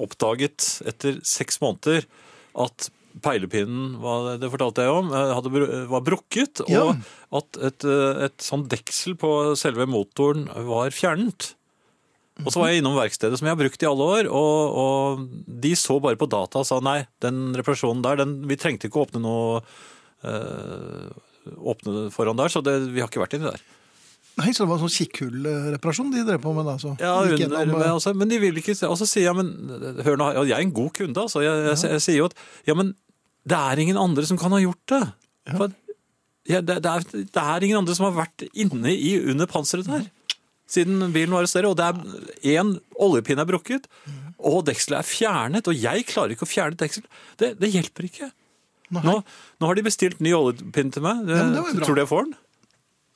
oppdaget etter seks måneder at peilepinnen, var, det fortalte jeg om, øh, hadde, bru- var brukket,
Ja.
og at et, øh, et sånn deksel på selve motoren var fjernet. Og så var jeg innom verkstedet som jeg har brukt i alle år, og, og de så bare på data og sa nei, den reparasjonen der, den, vi trengte ikke å åpne noe øh, åpne det foran der, så det, vi har ikke vært inni der.
Nei, så det var en sånn kikkhullreparasjon de drev på med da. Så.
Ja,
Gikk
under,
gjennom, eh,
men, altså, men de vil ikke se- Og så sier jeg, men hør nå, her, og jeg er en god kunde, altså. Jeg, jeg, jeg sier jo at ja, men det er ingen andre som kan ha gjort det. For, ja, det, det, er, det er ingen andre som har vært inne i under panseret der. Siden bilen var hos dere, og det er én oljepinne er brukket, og dekselet er fjernet, og jeg klarer ikke å fjerne deksel. Det, det hjelper ikke.
Nei.
Nå, nå har de bestilt ny oljepinne til meg.
Ja, men det var jo bra.
Tror du jeg får den?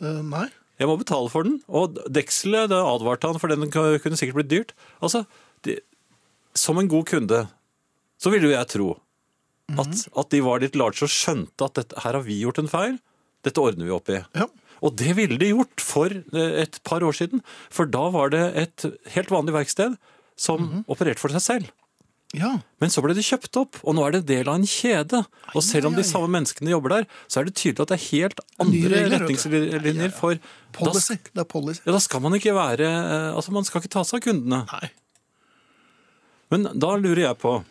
eh, nei.
Jeg må betale for den. Og dekselet, da advarte han, for den kunne sikkert blitt dyrt. Altså, de, som en god kunde, så ville jo jeg tro at,
Mhm.
at de var litt large og skjønte at dette, her har vi gjort en feil, dette ordner vi opp i.
Ja.
Og det ville de gjort for eh, et par år siden, for da var det et helt vanlig verksted som
Mhm.
opererte for seg selv.
ja.
Men så ble det kjøpt opp, og nå er det del av en kjede. Og selv om
ai,
de
ai.
samme menneskene jobber der, så er det tydelig at det er helt
Nye
andre
regler, vet du.
retningslinjer for da,
Policy. Det er policy.
ja, da skal man ikke være eh, Altså, man skal ikke ta seg av kundene.
Nei,
Men da lurer jeg på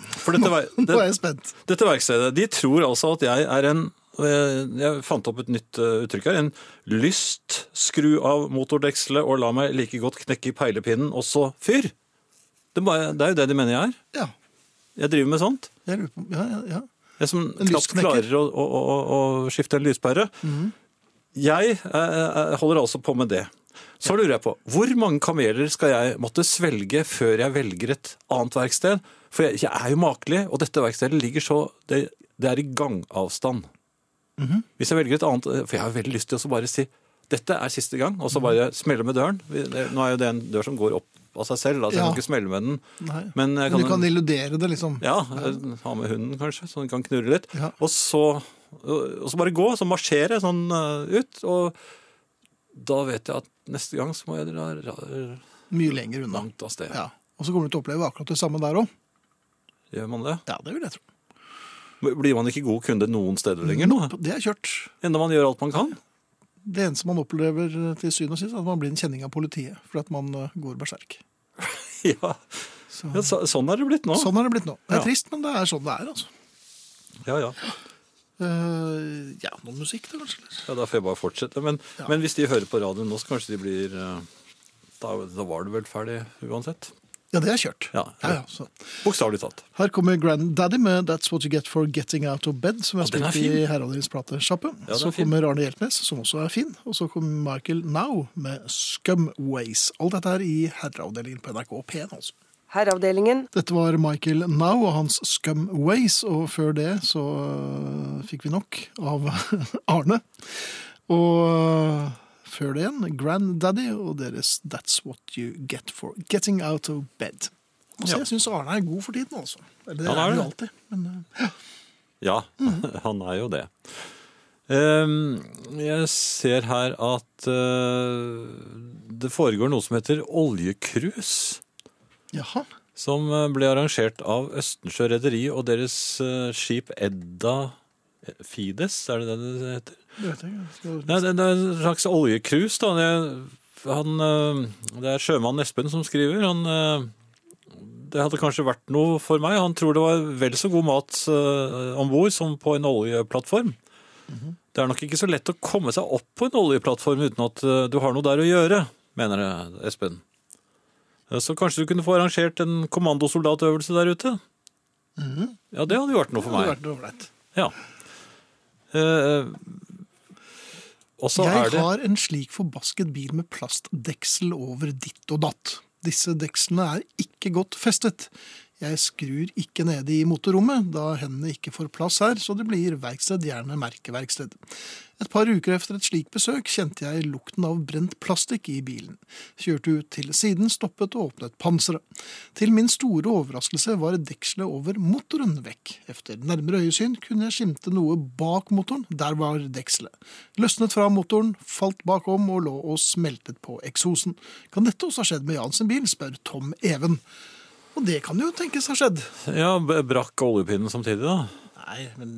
For dette, ver-
nå
det,
er jeg spent.
Dette verkstedet, de tror altså at jeg er en eh, jeg fant opp et nytt eh, uttrykk her. En lyst, skru av motordekselet og la meg like godt knekke i peilepinnen, og så fyr! Det, må jeg- det er jo det de mener jeg er.
Ja,
Jeg driver med sånt.
jeg lurer på Ja, ja, ja.
Jeg som
En
knapt
lysknekker. Mhm.
klarer å, å, å, å skifte en lyspære. Jeg eh, holder altså på med det. Så lurer jeg på, hvor mange kameler skal jeg måtte svelge før jeg velger et annet verksted? For jeg, jeg er jo makelig, og dette verkstedet ligger så Det, det er i gangavstand.
Mhm.
Hvis jeg velger et annet eh, For jeg har veldig lyst til å så bare si dette er siste gang,
Mhm.
og så bare smelle med døren. Vi- det- Nå er jo det en dør som går opp av seg selv, da, så jeg
Ja.
kan ikke smelle med den.
Nei.
Men eh, jeg
Men du kan illudere det, liksom.
ja, eh, ha med hunden kanskje, så den kan knurre litt.
Ja.
Og, så, og så bare gå, så marsjere sånn eh, ut. Og da vet jeg at neste gang så må jeg dra ra-
Mye lenger unna.
langt av sted.
Ja. Og så kommer du til å oppleve akkurat det samme der òg.
Gjør man det?
Ja, det vil jeg tro.
Blir man ikke god kunde noen steder lenger nå?
Det er kjørt.
Enda man gjør alt man kan?
Det eneste man opplever eh, til syvende og sist, er at man blir en kjenning av politiet. For at man eh, går berserk.
Ja,
Så,
ja så, sånn er det blitt nå.
Sånn er det blitt nå. Det er
Ja.
trist, men det er sånn det er, altså.
Ja, ja.
Eh, ja, noe musikk da, kanskje? eller?
ja, da får jeg bare fortsette. Men,
Ja.
men hvis de hører på radioen nå, så kanskje de blir eh, da, da var det vel ferdig uansett.
Ja, det er kjørt.
Ja.
ja, ja så.
Bokstavelig talt.
Her kommer Granddaddy med 'That's What You Get For Getting Out Of Bed', som jeg
Ja, den er
har spilt i Herreavdelingens platesjappe.
Ja, den er
så
fin.
kommer Arne Hjeltnes, som også er fin. Og så kommer Michael Now med 'Scum Ways'. Alt dette her i Herreavdelingen på NRK P1, altså.
Herreavdelingen.
Dette var Michael Now og hans Scum Ways, og før det så øh, fikk vi nok av Arne. Og øh, før det igjen Granddaddy og deres That's What You Get For Getting Out Of Bed. Altså,
Ja.
Jeg syns Arne er god for tiden, altså. Eller, det
Ja,
er
han er
han jo
det.
alltid. Men øh,
Ja, han er jo det. Ehm, Jeg ser her at eh, det foregår noe som heter oljekrus.
jaha.
Som eh, ble arrangert av Østensjø Rederi og deres eh, skip Edda Fides, er det det det heter?
Det vet jeg ikke. Skal-
Nei, det, det er en slags oljekrus, da. Det, han, eh, det er sjømann Espen som skriver. Han, eh, det hadde kanskje vært noe for meg. Han tror det var vel så god mat eh, om bord som på en oljeplattform.
Mhm.
Det er nok ikke så lett å komme seg opp på en oljeplattform uten at eh, du har noe der å gjøre, mener jeg, Espen. Eh, Så kanskje du kunne få arrangert en kommandosoldatøvelse der ute? Ja, det hadde jo vært noe for
Mhm. Det hadde
meg.
vært noe ålreit.
Ja. Eh, og så er
Jeg
det
har en slik forbasket bil med plastdeksel over ditt og datt. Disse dekslene er ikke godt festet. Jeg skrur ikke nede i motorrommet, da hendene ikke får plass her, så det blir verksted, gjerne merkeverksted. Et par uker efter et slikt besøk kjente jeg lukten av brent plastikk i bilen. Kjørte ut til siden, stoppet og åpnet panseret. Til min store overraskelse var dekselet over motoren vekk. Efter nærmere øyesyn kunne jeg skimte noe bak motoren, der var dekselet. Løsnet fra motoren, falt bakom og lå og smeltet på eksosen. Kan dette også ha skjedd med Jan sin bil, spør Tom Even. Og det kan jo tenkes ha skjedd.
Ja, b- brakk oljepinnen samtidig, da.
Nei, men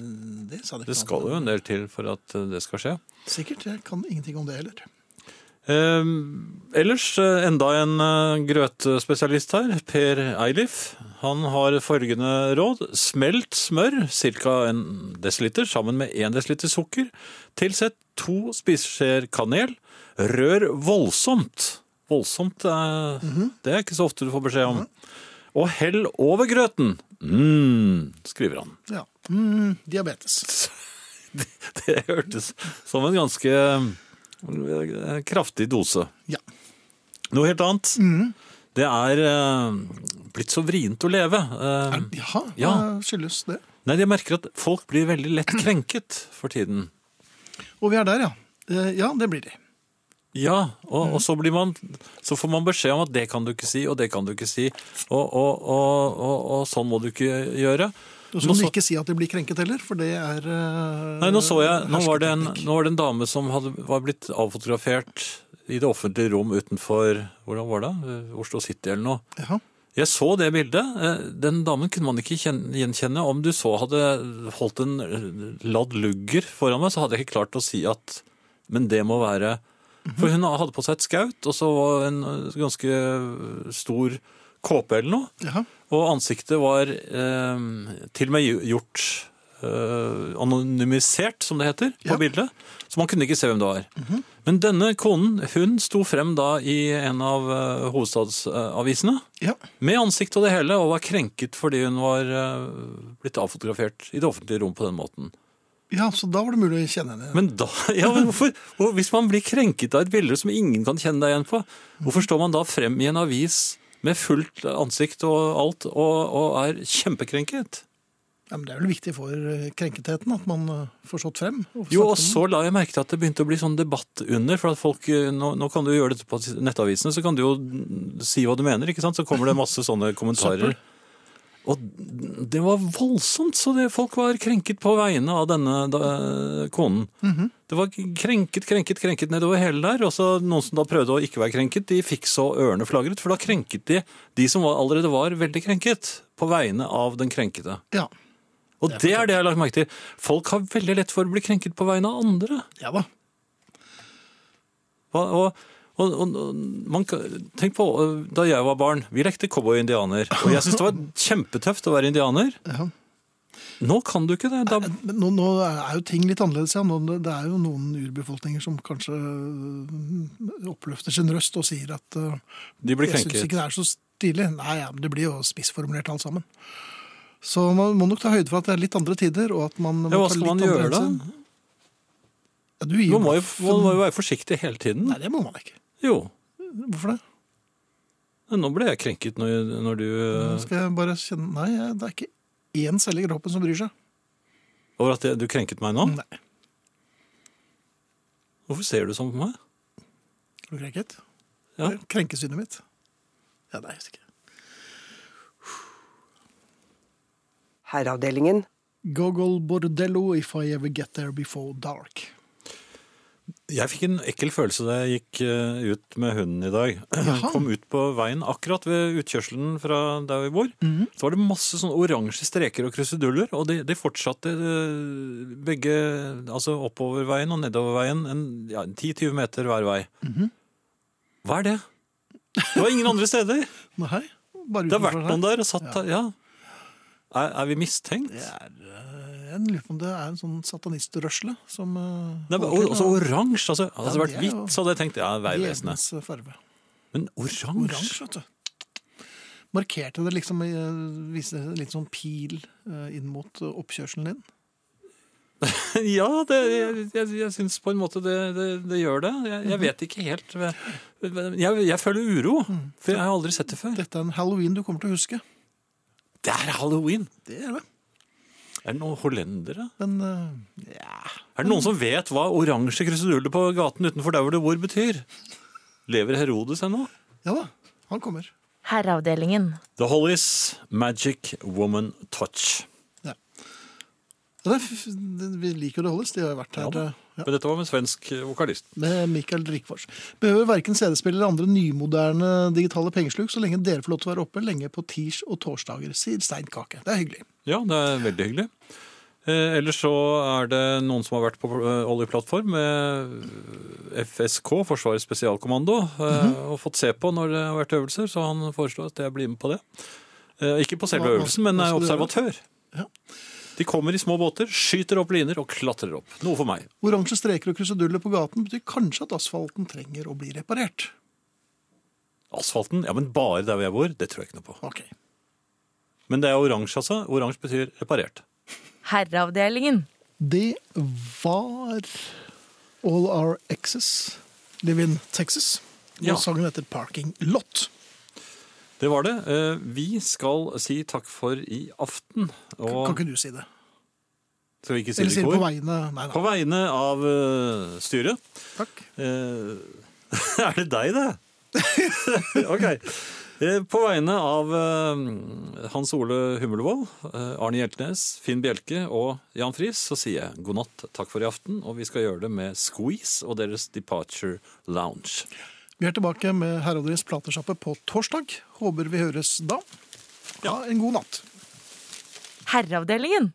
det sa det ikke.
Det skal jo en del til for at eh, det skal skje.
Sikkert, jeg kan ingenting om det heller.
Eh, ellers eh, enda en eh, grøtespesialist her, Per Eilif. Han har følgende råd. Smelt smør, ca. en desiliter, sammen med én desiliter sukker. Tilsett to spiseskjeer kanel. Rør voldsomt. Voldsomt, eh, det er ikke så ofte du får beskjed om. Og hell over grøten. mm, skriver han.
Ja. Mm, diabetes.
Det hørtes som en ganske eh, kraftig dose.
Ja. Mm.
Noe helt annet. Det er eh, blitt så vrient å leve. Eh,
Er, jaha, hva
Ja.
skyldes det?
Nei, jeg merker at folk blir veldig lett krenket for tiden.
Og vi er der, ja. Eh, Ja, det blir de.
Ja, og, og så, blir man, så får man beskjed om at det kan du ikke si, og det kan du ikke si, og, og, og, og, og sånn må du ikke gjøre.
Og så
Nå
kan du
så-
ikke si at de blir krenket heller, for det er eh,
Nei, nå så jeg, nå var det en,
hersketeknikk.
nå var det en dame som hadde, var blitt avfotografert i det offentlige rom utenfor, hvordan var det, Eh, Oslo City eller noe.
Ja.
Jeg så det bildet, Eh, den damen kunne man ikke kjen- gjenkjenne. Om du så hadde holdt en eh, ladd lugger foran meg, så hadde jeg ikke klart å si at, men det må være. For hun hadde på seg et skaut, og så var en eh, ganske stor kåpe eller noe.
ja.
Og ansiktet var eh, til og med gjort eh, anonymisert, som det heter, på
Ja.
bildet. Så man kunne ikke se hvem det var. Men denne konen hun sto frem da i en av eh, hovedstadsavisene
ja.
med ansikt og det hele, og var krenket fordi hun var eh, blitt avfotografert i det offentlige rom på den måten.
Ja, så da var det mulig å kjenne henne.
Men da, ja, men hvorfor, og hvis man blir krenket av et bilde som ingen kan kjenne deg igjen på, hvorfor står man da frem i en avis med fullt ansikt og alt, og, og er kjempekrenket?
ja, men det er vel viktig for eh, krenketheten at man eh, får stått frem. og får
Jo, og
snakket om
så la jeg merke til at det begynte å bli sånn debatt under, for at folk, eh, nå, nå kan du gjøre dette på nettavisene, så kan du jo si hva du mener, ikke sant? Så kommer det masse sånne kommentarer. Og det var voldsomt, så det, folk var krenket på vegne av denne da, konen. Det var krenket, krenket, krenket nedover hele der, og så noen som da prøvde å ikke være krenket, de fikk så ørene flagret, for da krenket de de som var, allerede var veldig krenket, på vegne av den krenkete.
den. Ja.
Og det er det jeg har lagt merke til. Folk har veldig lett for å bli krenket på vegne av andre.
ja da.
Hva- Og, og, og, og man, kan- tenk på øh, da jeg var barn. Vi lekte cowboy og indianer. Og jeg syntes det var kjempetøft å være indianer.
Ja.
Nå kan du ikke det. Da,
Men nå, nå er jo ting litt annerledes. Ja. Nå, det er jo noen urbefolkninger som kanskje eh, oppløfter sin røst og sier at eh,
de blir
jeg syns ikke
krenket.
det er så stilig. Nei, ja, men det blir jo spissformulert alt sammen. Så man må nok ta høyde for at det er litt andre tider. og at man...
Ja, hva
ta
skal
litt
man
andre
gjøre da?
hensyn. Ja, du gir
Man må jo, man må jo være forsiktig hele tiden.
Nei, det må man ikke.
Jo.
Hvorfor det?
Nå ble jeg krenket når, når du
Nå
øh,
Skal jeg bare kjenne Nei, jeg- det er ikke én celle i kroppen som bryr seg.
Over at jeg, du krenket meg nå?
Nei.
Hvorfor ser du sånn på meg?
Er du krenket?
Ja.
Det er Krenkesynet mitt. Ja, nei, jeg husker ikke.
Herreavdelingen.
Gogol Bordello If I Ever Get There Before Dark.
Jeg fikk en ekkel følelse da jeg gikk eh, ut med hunden i dag.
Jaha.
Kom ut på veien akkurat ved utkjørselen fra der vi bor.
Mhm.
Så var det masse sånne oransje streker og kruseduller, og de, de fortsatte eh, begge, altså oppoverveien og nedoverveien, en, ja, 10-20 meter hver vei.
Mhm.
Hva er det? Det var ingen andre steder.
Nei, bare
Det har
utenfor
vært
her.
noen der og satt der, ja. Er, er vi mistenkt?
Det er, eh, jeg lurer på om det er en sånn satanistrørsle som eh,
Nei, men
holder til,
også
da.
oransje, altså. Hadde det
det
vært
er jo-
hvitt, så hadde jeg tenkt, ja, veivesenet.
Djevelens eh, farve.
Men oransje?
Oransje, vet du. Markerte det liksom eh, Viste litt sånn pil eh, inn mot eh, oppkjørselen din?
Ja, det, jeg, jeg, jeg syns på en måte det, det, det gjør det. Jeg, jeg vet ikke helt hva- jeg, jeg føler uro, for jeg har aldri sett det før.
Dette er en halloween du kommer til å huske.
Det er halloween!
Det er det.
Er det noen hollendere?
Men eh, ja.
Er det noen som vet hva oransje kruseduller på gaten utenfor der hvor det bor, betyr? Lever Herodes ennå?
ja da, han kommer.
Herreavdelingen.
The Hollies Magic Woman Touch.
Ja, det, er f- det- vi liker jo det holdes, de har jo vært
Ja
her.
da.
eh, Ja.
Men dette var med svensk vokalist.
med Mikael Rikfors. Behøver verken CD-spill eller andre nymoderne digitale pengesluk så lenge dere får lov til å være oppe lenge på tirs og torsdager, sier Stein Kake. Det er hyggelig.
Ja, det er veldig hyggelig. Eh, ellers så er det noen som har vært på eh, oljeplattform med FSK, Forsvarets spesialkommando, eh,
Mhm.
og fått se på når det har vært øvelser, så han foreslår at jeg blir med på det. Eh, ikke på selve
Hva- hva-
øvelsen, men
hva
er
skal du gjøre?
observatør.
Ja.
De kommer i små båter, skyter opp liner og klatrer opp. Noe for meg.
Oransje streker og kruseduller på gaten betyr kanskje at asfalten trenger å bli reparert.
Asfalten, ja, men bare der hvor jeg bor, det tror jeg ikke noe på.
Ok.
Men det er oransje, altså. Oransje betyr reparert.
Herreavdelingen.
Det var All Our Exes, Live in Texas, og
Ja.
sangen heter Parking Lot.
Det var det. Eh, vi skal si takk for i aften. Og
Kan ikke du si det?
skal vi ikke si
Eller
det i
sier det
kor?
på vegne Nei,
På
nei.
vegne av eh, styret
Takk.
eh, er det deg, det? ok. Eh, På vegne av eh, Hans Ole Hummelvold, eh, Arne Hjeltnes, Finn Bjelke og Jan Friis så sier jeg god natt, takk for i aften. Og vi skal gjøre det med Squeeze og deres Departure Lounge.
Vi er tilbake med Herreavdelingens platesjappe på torsdag. Håper vi høres da. Ha en god natt.
Herreavdelingen.